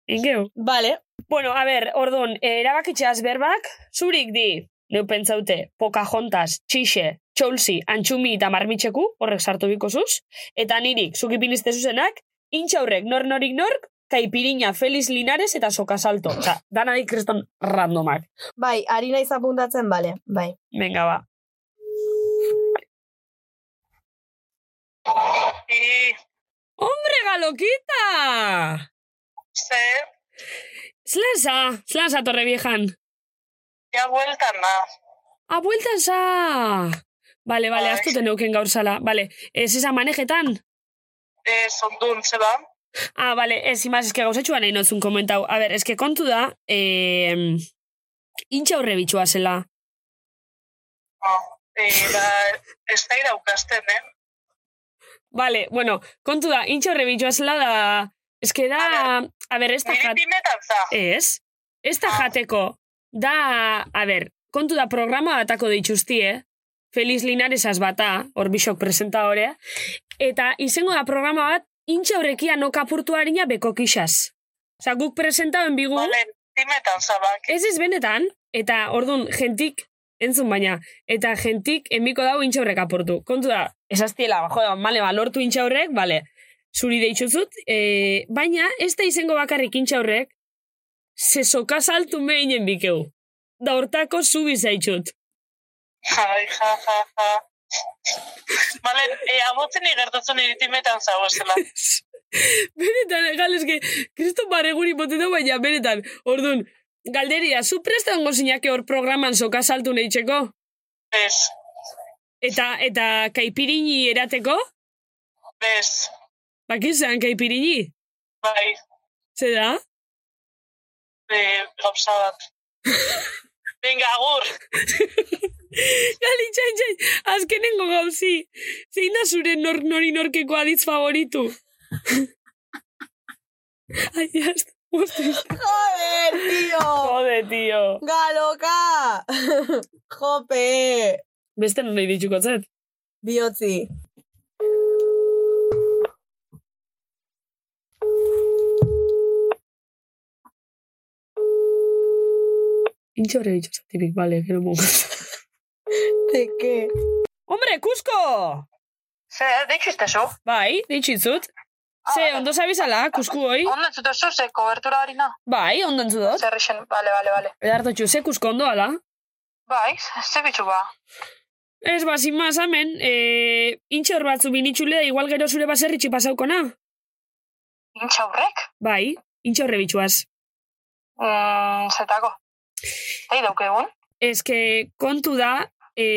Ingeu?
vale,
Bueno, a ber, ordun, eh, erabakitxeaz berbak, zurik di, neu pentsaute, Pocahontas, Txixe, Txolzi, Antxumi eta Marmitxeku, horrek sartu biko zuz, eta nirik, zuki pinizte zuzenak, intxaurrek nor norik nork, Kaipirina, Feliz Linares eta Sokasalto. Osa, dana di kriston randomak.
bai, ari naiz apuntatzen, vale, bai.
Venga, ba. ¡Hombre, galokita!
Ze,
Slasa, slasa, Torreviejan.
ja bueltan da.
Ah, bueltan za! Bale, bale,
Bai.
astuten neuken gaur zala. Bale, ez izan manejetan?
Ez ondun, ze ba?
Ah, bale, ez imaz, eske gauzetxua nahi notzun komentau. A ber, eske kontu da, eh, intxa horre bitxua zela.
No. E, ba, ez da iraukasten, eh?
Bale, bueno, kontu da, intxa horre bitxua zela da... Eske da...
A
A ber, ez da
Niri
jat...
pimetan za.
Ez? Ez da
Ah.
jateko. Da, a ber, kontu da programa batako dituztie, Feliz Linaresaz bata, hor bisok presenta horea, eta izango da programa bat, intxa horrekia nokapurtu harina beko kixaz. Osa, guk presentauen bigu,
Bale, pimetan za, ba.
ez ez benetan, eta ordun jentik, entzun baina, eta jentik enbiko dau intxa horrek apurtu. Kontu da, esaztiela, ba, joda, male, ba, lortu intxa horrek, bale, zuri deitxuzut, e, baina ez da izango bakarrik intxa horrek, se sokasaltu meinen bikeu. Da hortako zubi zaitxut.
Jai, ja, ja, ja. Bale, e, abotzen igertatzen niri pimetan za, bezala.
benetan, galeske, kriston bareguri boten da, baina benetan, ordun, galderia, zu presta ongo zinake hor programan sokasaltu nahitzeko?
Bez,
Eta, eta kaipirini erateko?
bez,
Bakizan, kaipirini?
bai,
Zer da?
e, gauza bat. Venga, agur!
Gali, txai, txai, azkenengo gauzi. Zein da zure nor, nori norkeko aditz favoritu? Ai, jazta.
Joder, tío!
Jode, tio.
Galoka! Jope!
Beste non nahi ditukotzet?
Biotzi.
Intxo horre bitxo zatipik, bale, gero mugu.
Teke.
Hombre, Kusko!
Ze, dikiztezu?
Bai, ditxitzut. Ze, ondo zabizala, Kusku hoi?
Ondo entzutezu, ze, kobertura hori na?
Bai, ondo entzudot.
Zer isen, bale, bale, bale.
Edarto ze Kusko ondo ala?
Bai, ze bitxu ba.
Ez, bazin maz, amen, e, intxo hor batzu binitxulea, igual gero zure baserritxi pasaukona?
Intxaurrek?
Bai, intxo horre bitxuaz.
Mm, zetako. Zei daukegun?
Ez que kontu da, e,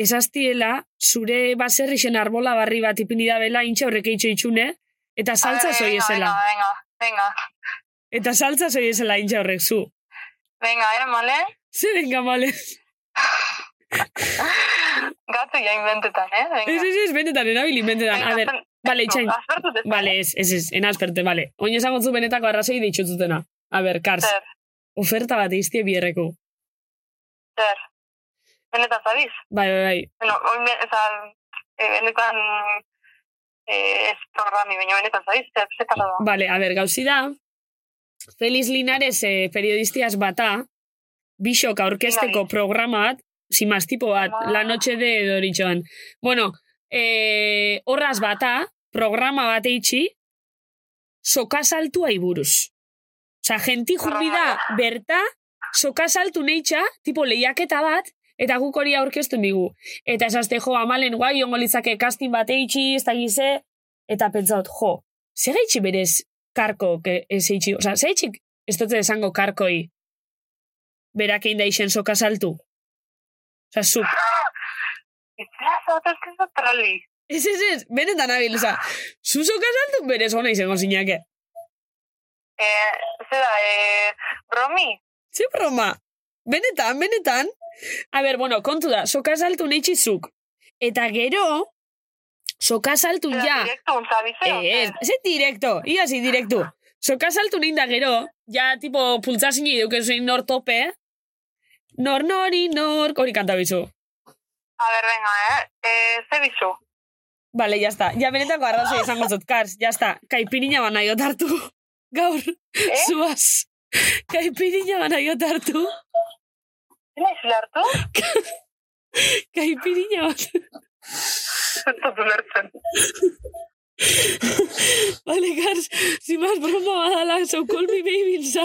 ezaztiela, zure baserrixen arbola barri bat ipini da bela intxa horrek eitxo itxune, eta saltza
A ver,
zoi
Ah, venga,
ezela.
Venga, venga,
Eta saltza zoi ezela intxa horrek zu.
venga, venga, eh, male?
Ze venga, male.
Gatu ja inventetan, eh? Venga.
Ez, ez, ez, benetan, erabili benetan. A ber, bale, itxain. Bale, ez, ez, ez, enazperte, bale. Oin esango zu benetako arrazoi deitzututena. A ber, Kars,
Zer,
oferta bat eiztie bierreko.
zer. Benetan zabiz?
Bai, bai, bai.
eh, Bueno, oin be, eta, e, benetan eh, ez programi, baina benetan zaiz, ze ze pasada.
Vale, a ber, gauzi da, Feliz Linares eh, periodistiaz bata, bisok aurkesteko
Bai.
programa bat, simaz tipo bat,
Ah.
la noche de doritxoan. Bueno, eh, horraz bata, programa bat eitxi, sokasaltua iburuz. Osa, genti jumbi da, berta, sokasaltu neitxa, tipo lehiaketa bat, eta guk hori aurkeztu bigu. Eta esazte, jo, amalen guai, ongo litzake kastin bat eitxi, ez da gize, eta pentsaut, jo, zer eitxi berez karko ez eitxi, oza, zer eitxi ez dute esango karkoi berak egin da isen soka saltu. Oza, zup.
Itzela zaten zintzen trali.
Ez, ez, ez, benetan abil, oza, zu soka saltu berez hona izango zinake.
Eh, zera, eh, bromi?
Ze broma, benetan, benetan. A ber, bueno, kontu da, soka saltu neitxizuk. Eta gero, soka saltu
Zera,
ja... Eh,
direktu untza bizeo.
Ez, ze direkto, iasi direktu. Soka saltu nein da gero, ja, tipo, pultzazin duke zein nor tope, nor nori nor, hori kanta bizu.
A ber, venga, eh? Eh, ze bizu?
Vale, ya está. Ja benetako arrazoi izango zut, Kars, ya está. Kaipirina bana jot hartu. Gaur,
Eh?
zuaz. Kaipirina bana jot hartu.
Zena izu hartu?
Kaipirina bat.
Zertaz ulertzen.
Vale, Kars, si más broma badala, so call me baby, Ilsa.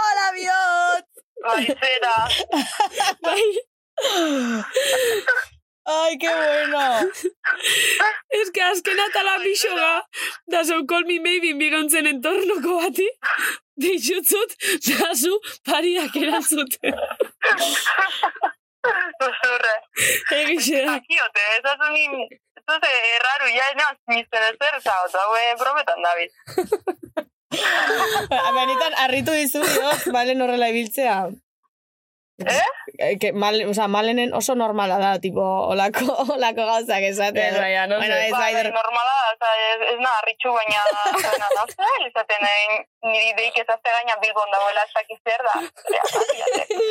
Hola, biot!
Bai, zera.
Bai,
Ai, que bueno!
Es que azken atala pixoga, da so call me maybe bigontzen entornoko bati, deixutzut, da zu pariak erantzuten.
Zuzurre.
Egixe da.
Akiote, ez azu ni... Ez erraru, ja, naz, nizten ezer, zau, zau, eh, brometan dabil.
Benetan, harritu dizu diot, malen horrela ibiltzea.
Eh?
Eh, Que, mal, o sea, malenen oso normala da, tipo, olako, olako gauzak esatea.
Ez, baina, no
bueno,
sé.
ez
Ba,
bai,
bai, normala, oza, ez, ez na harritxu, baina baina da, zer, izaten eh, niri deik ez azte gaina bilbon dagoela ez dakiz zer da. Ja, ja, ja.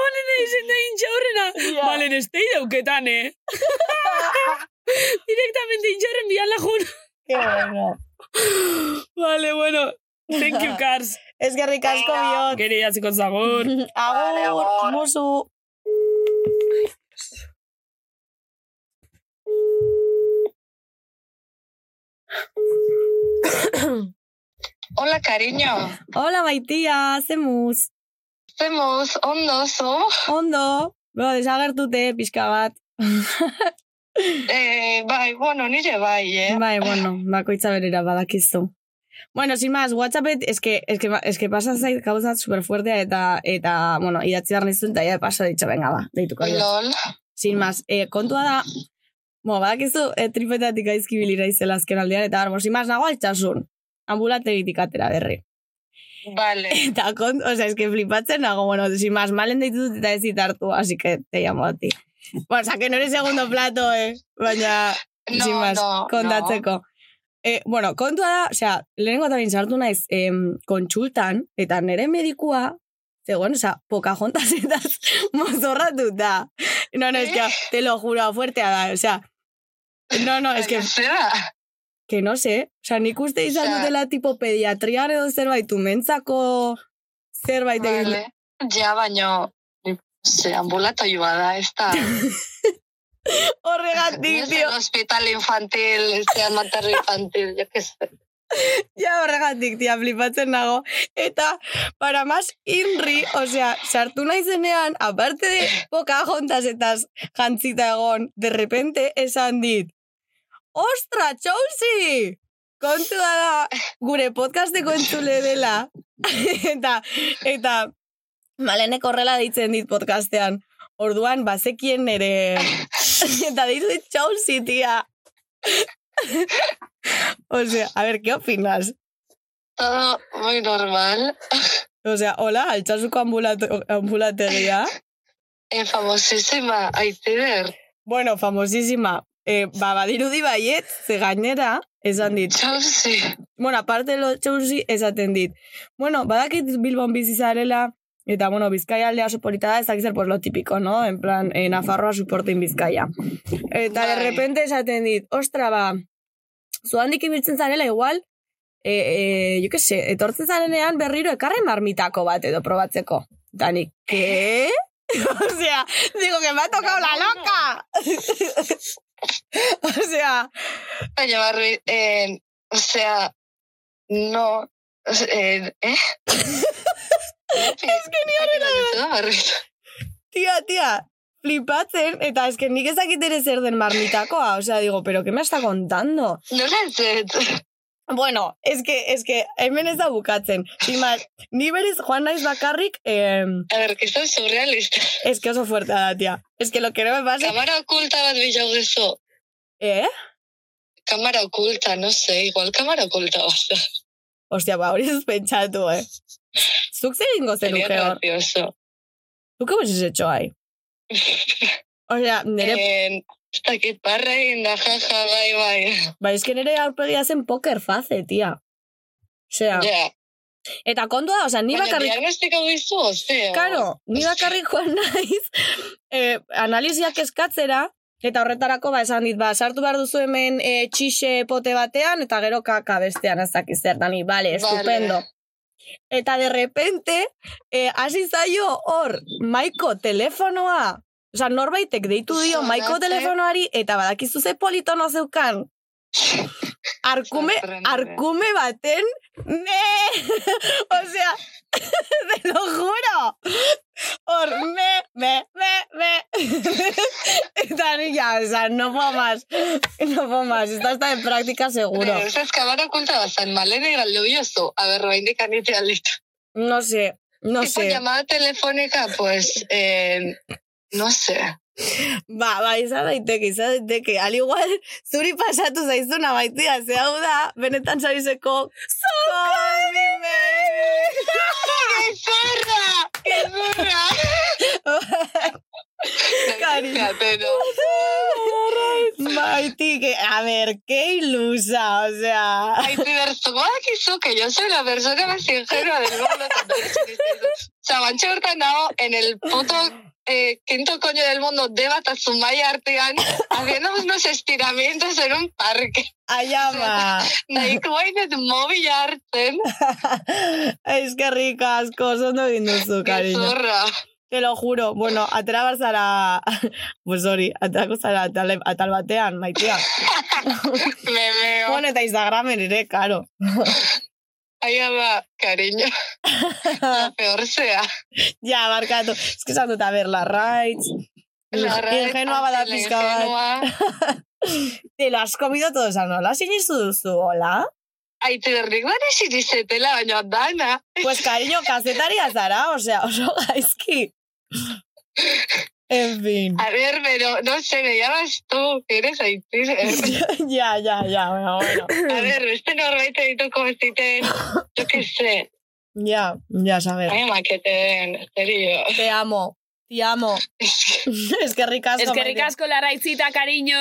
Malena izen da intxaurrena.
Ja.
Malen ez da idauketan, eh? Directamente intxaurren bian lajun.
que bueno.
Vale, bueno. Thank you, Cars.
Ezkerrik asko
Venga.
biot.
Gere jatziko zagur.
Vale,
Agur,
agur.
musu.
Hola, cariño.
Hola, maitia, zemuz.
Zemuz, ondo zu.
Ondo. Bro, desagertute, pixka bat.
Eh, bai, bueno, nire bai, eh.
Bai, bueno, bakoitza berera badakizu. Bueno, sin más, WhatsAppet, eske, eske, eske pasan zait gauza superfuertea eta, eta, bueno, idatzi behar nizun, eta ya paso ditxo, venga, ba, deituko dut.
Lol.
Sin más, eh, kontua da, mo, badakizu, eh, tripetatik aizki bilira izela azken aldean, eta, bueno, sin más, nago altxasun, ambulante bitik atera berri.
Vale.
Eta, kont, o sea, eske flipatzen nago, bueno, sin más, malen deitut eta ez ditartu, así que te llamo a ti. Bueno, o sea, que no eres segundo plato, eh, baina...
No,
sin más,
no,
kontatzeko. Eh, bueno, kontua da, osea, lehenengo eta behin sartu naiz em, kontsultan, eta nire medikua, zegoen, osea, Pocahontas eta mozorratuta. No, no, es
¿Eh?
que, te lo juro, fuertea da, osea, no, no,
No.
es que,
Baina Zera.
que no sé, osea, nik uste izan
Osea.
dutela tipo pediatrian edo zerbait, umentzako zerbait egin.
Vale. Ja, baino, ze ambulatoioa da, ez da.
Horregatik,
Ez
tio,
el hospital infantil, ez da materno infantil, jo que sé.
Ja horregatik, tia, flipatzen nago. Eta, para más inri, osea, sartu naizenean, aparte de poca jontas eta jantzita egon, de repente esan dit, Ostra, Chausi! Kontua da, gure podcasteko entzule dela. eta, eta, malenek horrela ditzen dit podcastean. Orduan, bazekien nere... eta deitu dit Chausi, tia. Osea, a ver, ¿qué opinas?
Todo muy normal.
Osea, hola, altxasuko ambulato- ambulategia.
Eh, famosísima, aitider.
bueno, famosísima. Eh, ba, badirudi baiet, ze gainera, esan dit.
Chausi.
Bueno, aparte lo txauzi, esaten dit. Bueno, badakit Bilbon bizi zarela, eta, bueno, Bizkaia aldea soporita da, ez dakit zer, pues, lo típico, no? En plan, eh, Nafarroa suportin Bizkaia. Eta, de
Bai.
repente, esaten dit, ostra, ba, zuhandik ibiltzen zarela igual, e, e, jo que se, etortzen zarenean berriro ekarri marmitako bat edo probatzeko. Danik, ke? Osea, digo que me ha tocado la loca. Osea,
Baina, barri, eh, osea, no, eh, eh? es que ni hori da. Barri,
tia, tia, flipatzen, eta eske nik ezakit ere zer den marmitakoa, osea, digo, pero que me está contando?
nola ez dut?
Bueno, eske, eske, hemen ez da bukatzen. Imaz, ni berez joan naiz bakarrik, eh,
A ver, que está surrealista.
eske oso fuerte da, tia. Eske lo que no me pase...
Kamara okulta bat bilago gezo.
Eh?
Kamara okulta, no sé, igual kamara okulta bat da.
Ostia, ba, hori ez pentsatu, eh. Zuk zer ingo
Sería
zenuke hor?
gracioso.
Zuk hobes hecho ahí? Osea, nere,
Eh, ez dakit barra egin da, jaja, bai, bai.
ba, eske nere aurpegia zen poker face, tia. Osea,
Ja.
eta kontua da, osea, ni
Baina,
bakarrik...
diagnostiko guizu, ozeo.
Karo, ni bakarrik joan naiz, eh, analiziak eskatzera, eta horretarako ba esan dit, ba, sartu behar duzu hemen eh, txixe pote batean, eta gero kaka bestean ez dakit zer, dani, bale, estupendo. Eta de repente, eh, hasi zaio hor, maiko telefonoa, Osa, norbaitek deitu dio
Zona,
maiko
eh?
telefonoari, eta badakizu ze politono zeukan. Arkume,
Sorprendente.
arkume baten, ne! Osea, te lo juro! Hor, me, me, me, me. Eta ni ya, o sea, no puedo más. No puedo más. Esta está de práctica seguro.
Eh, Ez ez kamara okulta bat zan, malene galdu biozu. A ber, bain dikanite alditu.
No sé, no
Tipo
sé.
llamada telefónica, pues, eh, no sé.
Ba, ba, izan daiteke, izan daiteke. Al igual, zuri pasatu zaizuna baitia, ze hau da, benetan zarizeko... Call me
¡Qué zorra! ¡Qué zorra!
baby! Cari.
Pero,
Maiti, que, a ver, qué ilusa, o sea...
ay, que que yo soy la persona más ingenua del mundo cuando eres chiquitito. Sabantxe hortan dago, en el puto eh, quinto coño del mundo de Batasumaya Artean, haciendo unos estiramientos en un parque.
Ayama,
Nahiko bainet mobila hartzen,
es que rica, asko, zondo egin duzu,
que
cariño.
zorra.
Te lo juro, bueno, atera bar zara... Pues hori, aterako zara atal, atal batean, maitia.
Me veo.
Bueno, eta Instagramen ere, karo.
Ahí va, cariño. La peor sea.
Ja, barkatu. Ez que esan dut, a ber, la rights. Ingenua bada pizka bat. Te lo has comido todo esa nola, sinistu duzu, hola?
Aitu berrik dara sinizetela, baina dana.
Pues cariño, kazetaria zara, osea, oso gaizki. En fin.
A ver, pero, no sé, me llamas tú, que eres Aitu.
Ja, ja, ja, bueno, bueno.
A ver, beste norbait dituko ez diten, yo que sé,
Ja, ja, saber.
ai maketen, serio.
Te amo. Te amo. Eskerrik asko.
Eskerrik
maitea.
asko laraitzita, kariño.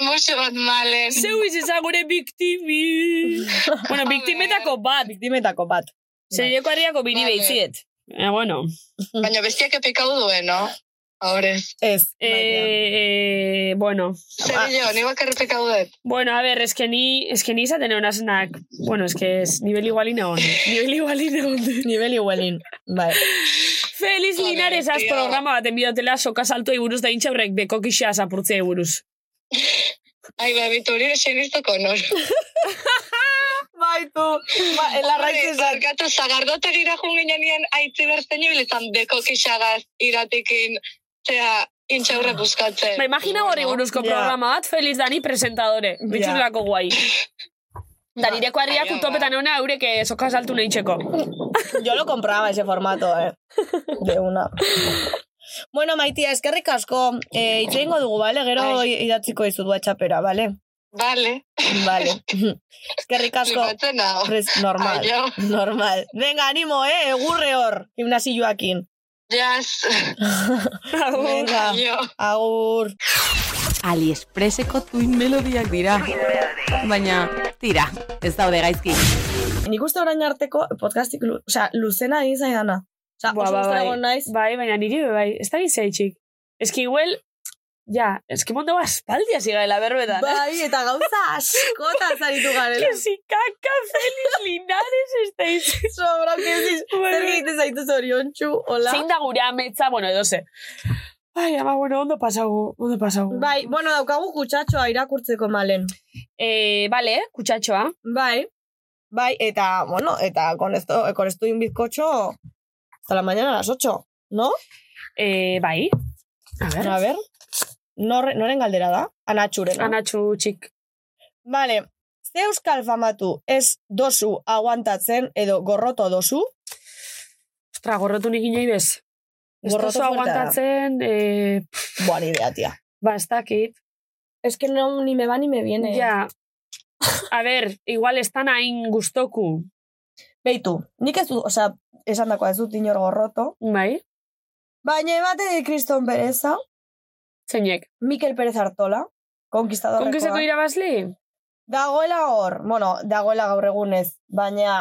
Muxo bat malen.
Zeu izan gure biktimi. bueno, biktimetako bat.
Biktimetako bat.
Serioko harriako biri
Vale.
behiziet. Eh, bueno.
Baina bestiak epikau duen, no? Ahorez.
Ez. maitea.
Eh, eh, bueno.
Serio, ni bakarrik epikau dut.
Bueno, a ver, es que ni, es que ni izaten egon azenak. Bueno, es que es nivel igualin egon. nivel igualin egon.
Nibeli huelin. Bai.
Feliz
Joder,
Linares az
tío.
programa baten bidotela sokasalto buruz da intxaurrek beko kixa apurtzea buruz.
Ai, ba, bituri esen iztoko nor.
Bai, tu. Ba,
Hombre,
elarraitzen zan.
Barkatu, zagardotegira junginan nien aitzi bertzen ibilizan beko kixagaz iratikin, zera,
Ah.
intxaurre buskatzen.
Bai,
Ba, imagina hori buruzko
Ja.
programa bat, Feliz Dani presentadore. Bitxurlako guai. Danireko harriak
Baina,
utopetan eona eurek eh, sokasaltu nahi txeko.
Yo lo compraba ese formato, eh. De una. Bueno, maitia, eskerrik asko. Eh, itxe egingo dugu, bale? Gero
Bai.
i- idatziko izut whatsappera, bale?
Vale,
Bale. Eskerrik asko.
flipatzen hau.
Pres- normal.
Aio.
Normal. Venga, animo, eh? Egurre hor. Gimnasioakin.
Jaz,
Venga.
aio.
Agur.
Aliexpreseko tuin melodiak dira. Baina, tira, ez daude gaizki.
Nik uste orain arteko podcastik, lu, osea, luzena egin zaidana. Osea,
Buah,
oso
ba,
ba,
bai.
naiz.
Bai, baina niri be bai, ez da gizea itxik. Ez que igual, Ja, eski mondo aspaldi hasi gaela berbetan.
Bai, eta gauza askota zaritu garela.
Que si kaka Feliz Linares estáis.
Sobra, que si zer egiten zaitu zorion txu, hola.
Zein da gure ametza, bueno, edoze. Ai, ama, bueno, ondo pasago, ondo pasago.
Bai, bueno, daukagu kutsatxoa irakurtzeko malen.
Eh, vale, kutsatxoa.
Bai, bai, eta, bueno, eta con esto, con esto un bizcocho hasta la mañana a las 8, ¿no?
Eh, bai.
A ver. A ver. Nor, noren galdera da? Anatxuren.
Anatxu txik.
Vale, ze euskal famatu ez dozu aguantatzen edo gorroto dozu?
Ostra, gorrotu nik inoi bez. Ez dozu aguantatzen... Eh,
Boa, ni idea, tia.
Ba, ez dakit.
Es que no, ni me va ni me viene.
Ja. A ver, igual estan hain gustoku.
Beitu, nik ez dut, osea, esan dakoa ez dut inor gorroto.
Bai.
Baina emate de kriston bereza.
Zeinek?
Mikel Pérez Artola, konkistadorrekoa.
Konkistako irabazli?
Dagoela hor, bueno, dagoela gaur egunez, baina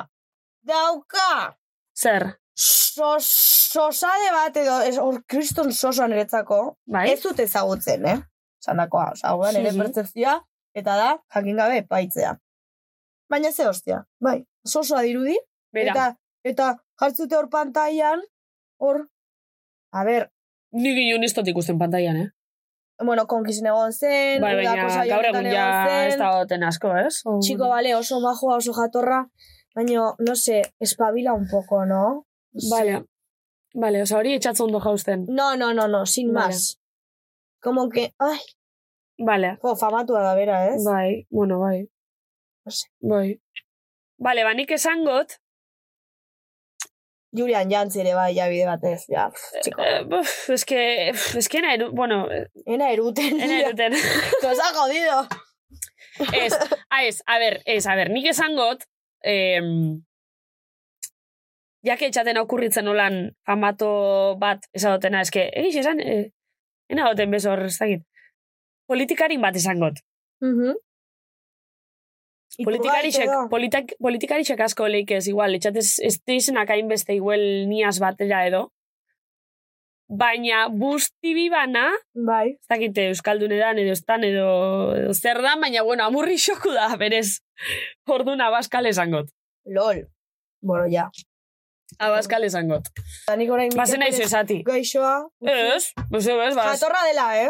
dauka!
Zer?
Sos, sosade bat edo, ez hor kriston sosoan niretzako,
bai?
ez dut ezagutzen, eh? Zandakoa, oza, hori nire percepzioa, eta da, jakin gabe paitzea. Baina ze hostia, bai, sosoa dirudi,
Bera.
eta, eta jartzute hor pantailan, hor, a ber,
Nik ginen ez dut ikusten pantailan, eh?
bueno, konkizin egon zen,
Bai, baina gaur egun ja ez da goten asko, ez? O-
Chico, ba- vale, oso majoa, oso jatorra, baina, no sé, espabila un poco, ¿no?
Vale, vale, oza, hori etxatzo ondo jausten.
No, no, no, no, sin
Vale.
más. Como que, ay,
Vale,
jo, famatua da bera, ¿eh? ez?
bai, bueno, bai.
No sé.
Bai. Vale, ba, nik esangot,
Julian Jantz ere bai, ja bide batez, ja, pff, chico.
eh, buf, eske, pf, eske ena eru, bueno, eh,
Ena eruten,
ena eruten.
nos ha jodido.
ez, a ez, a ber, ez, a ber, nik esangot, eh, jake etxaten okurritzen olan famato bat esadotena, eske, egiz esan, eh, ena goten bezo hor, ez dakit. Politikarin bat esangot.
Mhm.
Politikarixek,
Iturgaiz edo?
politak, politikarixek asko leikez, igual, etxatez ez dizenak hainbeste igual niaz batera edo. Baina busti bibana,
Bai,
ez dakite Euskaldunedan edo estan edo, edo zer da, baina bueno, amurri xoku da, berez. Orduan abaskal esangot.
lol. Bueno, ja.
Abaskal esangot.
Da, Nik orain...
Bazen Ba, naiz esati.
Gaixoa.
Ez, ez, ez, baz.
Jatorra dela, eh?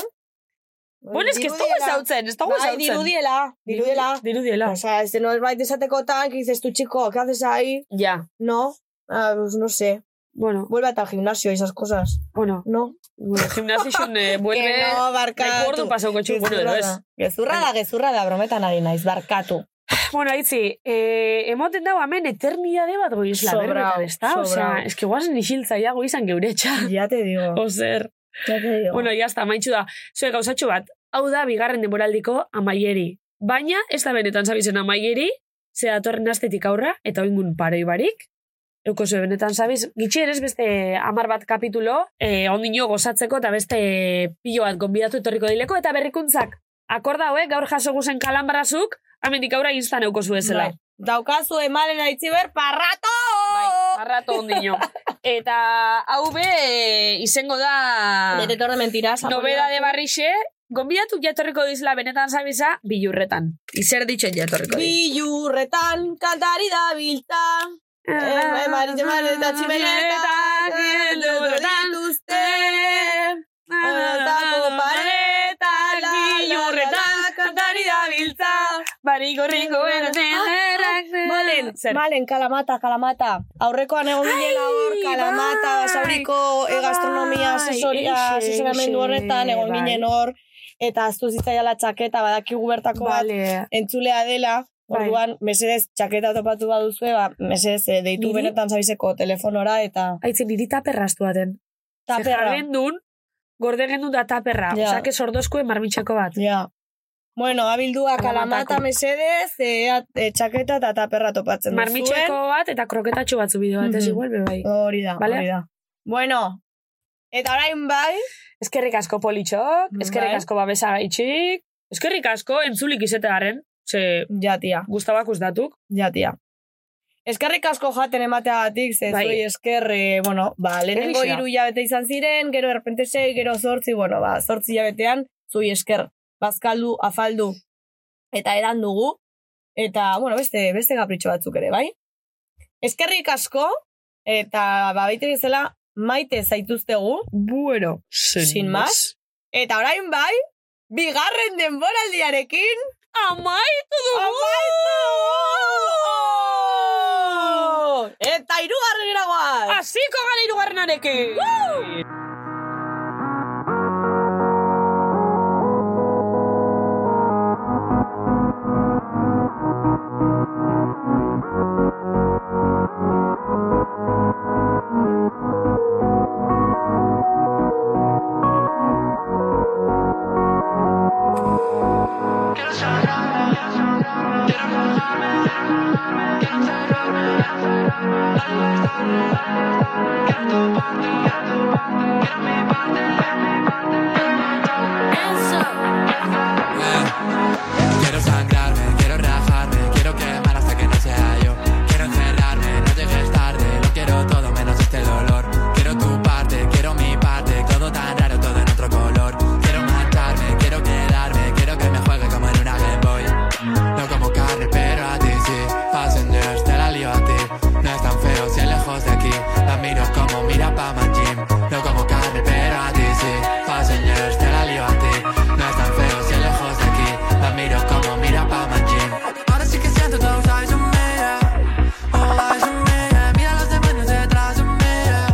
Bueno, ez que ez dugu
Dirudiela.
ezautzen, ez dugu
Bai,
ezautzen.
dirudiela, dirudiela.
Dirudiela.
O sea, este no es bait esatekotan, que dices tú, chico, ¿qué haces ahí?
Ja,
No, ah, pues no sé.
bueno,
Vuelve al gimnasio y esas cosas.
bueno.
No.
Bueno, gimnazio xun, eh, buelve...
Que no, barkatu.
Recuerdo pasau kotxu, bueno, edo ez.
Gezurra da, gezurra da, brometan ari naiz, barkatu.
Bueno, aitzi, eh, emoten dago hemen eternidade bat goizla
Sobrao,
berbetan, ez da? Osea,
sobrao.
eski guazen isiltzaiago izan geuretxa.
Ya te digo,
Ozer.
ya te digo.
Oh, Bueno, jazta, maitxu da. Zue gauzatxo bat, hau da bigarren demoraldiko amaieri. Baina, ez da benetan zabizen amaieri, ze datorren astetik aurra, eta oingun paroi barik. Euko zue benetan zabiz, gitxerez beste amar bat kapitulo, eh, ondino gozatzeko eta beste pilo bat gonbidatu etorriko dileko, eta berrikuntzak. Akorda hauek, gaur jaso guzen kalanbarazuk, amendik aurra instan euko zuezela.
Bai. Daukazu emalen aitziber parrato!
Bai. Arrato ondino. Eta hau be eh, izango da
Detetor de mentiras.
novela Ah. de barrixe, gonbidatu jatorriko dizla benetan zabiza bilurretan. Izer ditxen jatorriko di.
Bilurretan, kantari da bilta. Eh, Marit, Marit, eta tximeletan, geldo dituzte. Hortako paretan, la,
Bilurretan, kantari da biltza, bariko ringo
Ah,
erderak. Malen, zer?
Malen, kalamata, kalamata. Aurrekoan egon ginela hor, kalamata,
bai,
basauriko e, gastronomia
bai,
asesoria,
eixe,
asesoramendu
eixe,
horretan, egon
bai.
ginen hor, eta aztu zitzaiala txaketa, badakigu bertako bat,
Vale.
entzulea dela,
Bai.
Orduan, mesedez, txaketa topatu baduzue, ba, mesedez, eh, deitu
Niri?
benetan zabizeko telefonora, eta
Aitzen, niri taperraztu aten.
taperra.
Ze gendun, gorde gendun da taperra.
Ja.
Osea, que sordozkoen marmitxako bat.
Ja. Bueno, abildua kalamata
Kalamatako.
mesedez, e, at- e, txaketa eta taperra topatzen
Marmitxeko bat eta kroketatxo batzu bideo bat, ez
Mhm.
igual, be bai.
duzuen. Hori da,
Bale?
hori da. Bueno, eta orain bai,
Eskerrik asko politxok, eskerrik
Bai.
asko babesa gaitxik, eskerrik asko entzulik izetearen, ze
ja tia,
guztabak datuk.
ja tia. Eskerrik asko jaten emateagatik, ze
Bai.
zuei esker, eh, bueno, ba, lehenengo
Errexea.
hiru hilabete izan ziren, gero erpente sei, gero zortzi, bueno, ba, zortzi hilabetean, zui esker bazkaldu, afaldu eta edan dugu. Eta, bueno, beste, beste kapritxo batzuk ere, bai? Eskerrik asko, eta babaite bezala maite zaituztegu.
Bueno,
sin, más. Eta orain bai, bigarren denboraldiarekin amaitu dugu! Amaitu! Eta irugarren eragoaz!
Aziko gara irugarrenarekin!
Quiero sangrarme, quiero rajarme, quiero quemar hasta que no sea yo. Quiero encerrarme, no llegues tarde, lo quiero todo menos este dolor. Quiero tu parte, quiero mi parte, todo tan raro, todo en otro color. Quiero matarme, quiero quedarme, quiero que me juegue como en una Game Boy. No como carne, pero a ti sí. Passengers, te la lío a ti. No es tan feo si es lejos de aquí. La miro como mira pa' Jim. No como carne, pero a ti sí. Passengers, te la lío a ti. No es tan feo si es lejos de aquí. La miro como mira pa' Jim. Ahora sí que siento todos eyes on me. yeah. Oh, eyes on me. yeah. Mira los demonios detrás de mí. yeah.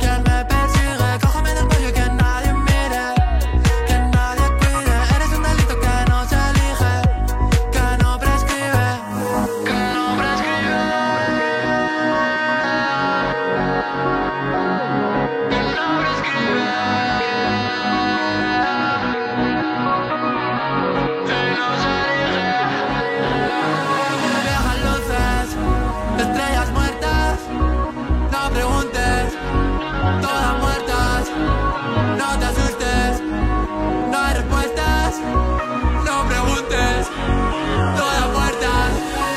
Quien me persigue, cógeme del cuello y que nadie mire. Que nadie cuide. Eres un delito que no se elige. Que no prescribe. Que no Viejas luces, estrellas muertas, no preguntes, todas muertas, no te asustes, no hay respuestas, no preguntes, todas muertas.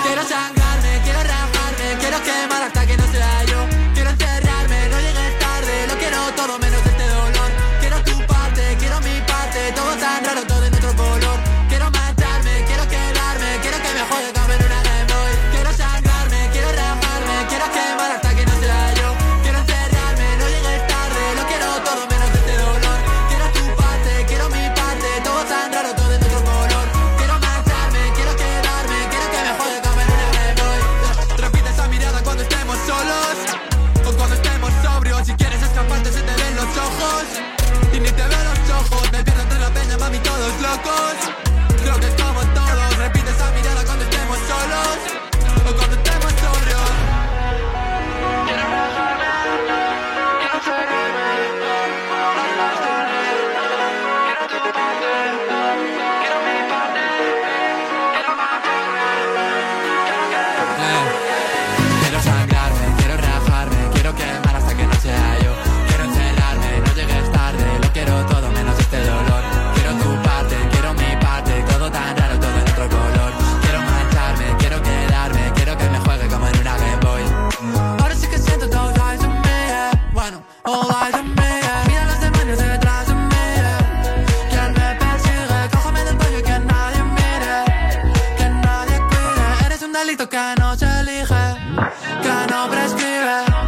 Quiero sangrarme, quiero rajarme, quiero quemar hasta que no sea yo. Quiero encerrarme, no llegues tarde, lo quiero todo menos este dolor. Quiero tu parte, quiero mi parte, todo tan raro, todo en otro color. Quiero matarme, quiero quedarme, quiero que me juegue como en una Game Boy. Quiero sangrarme, quiero rajarme, quiero quemar hasta que no sea yo. Quiero encerrarme, no llegues tarde, lo quiero todo menos este dolor. Quiero tu parte, quiero mi parte, todo tan raro, todo en otro color. Quiero matarme, quiero quedarme, quiero que me juegue como en una Game Boy. Repite esa mirada cuando estemos solos, o cuando estemos sobrios. Si quieres escaparte, se te ven los ojos. Y ni te veo los ojos, me pierdo entre la peña, mami, todos locos. Creo que estamos todos, repite esa mirada cuando estemos solos o cuando estemos sobrios. Eh. Quiero sangrarme, quiero rajarme, quiero quemar hasta que no sea yo. Quiero encerrarme, no llegues tarde, lo quiero todo menos este dolor. Quiero tu parte, quiero mi parte, todo tan raro, todo en otro color. Quiero mancharme, quiero quedarme, quiero que me juegue como en una Game Boy. Ahora sí que siento todos eyes on me, yeah. bueno, all eyes on me. yeah. Mira los demonios detrás de mí, yeah. quien me persigue, cójame del cuello y que nadie mire. Que nadie cuide, eres un delito que no se elige, que no prescribe.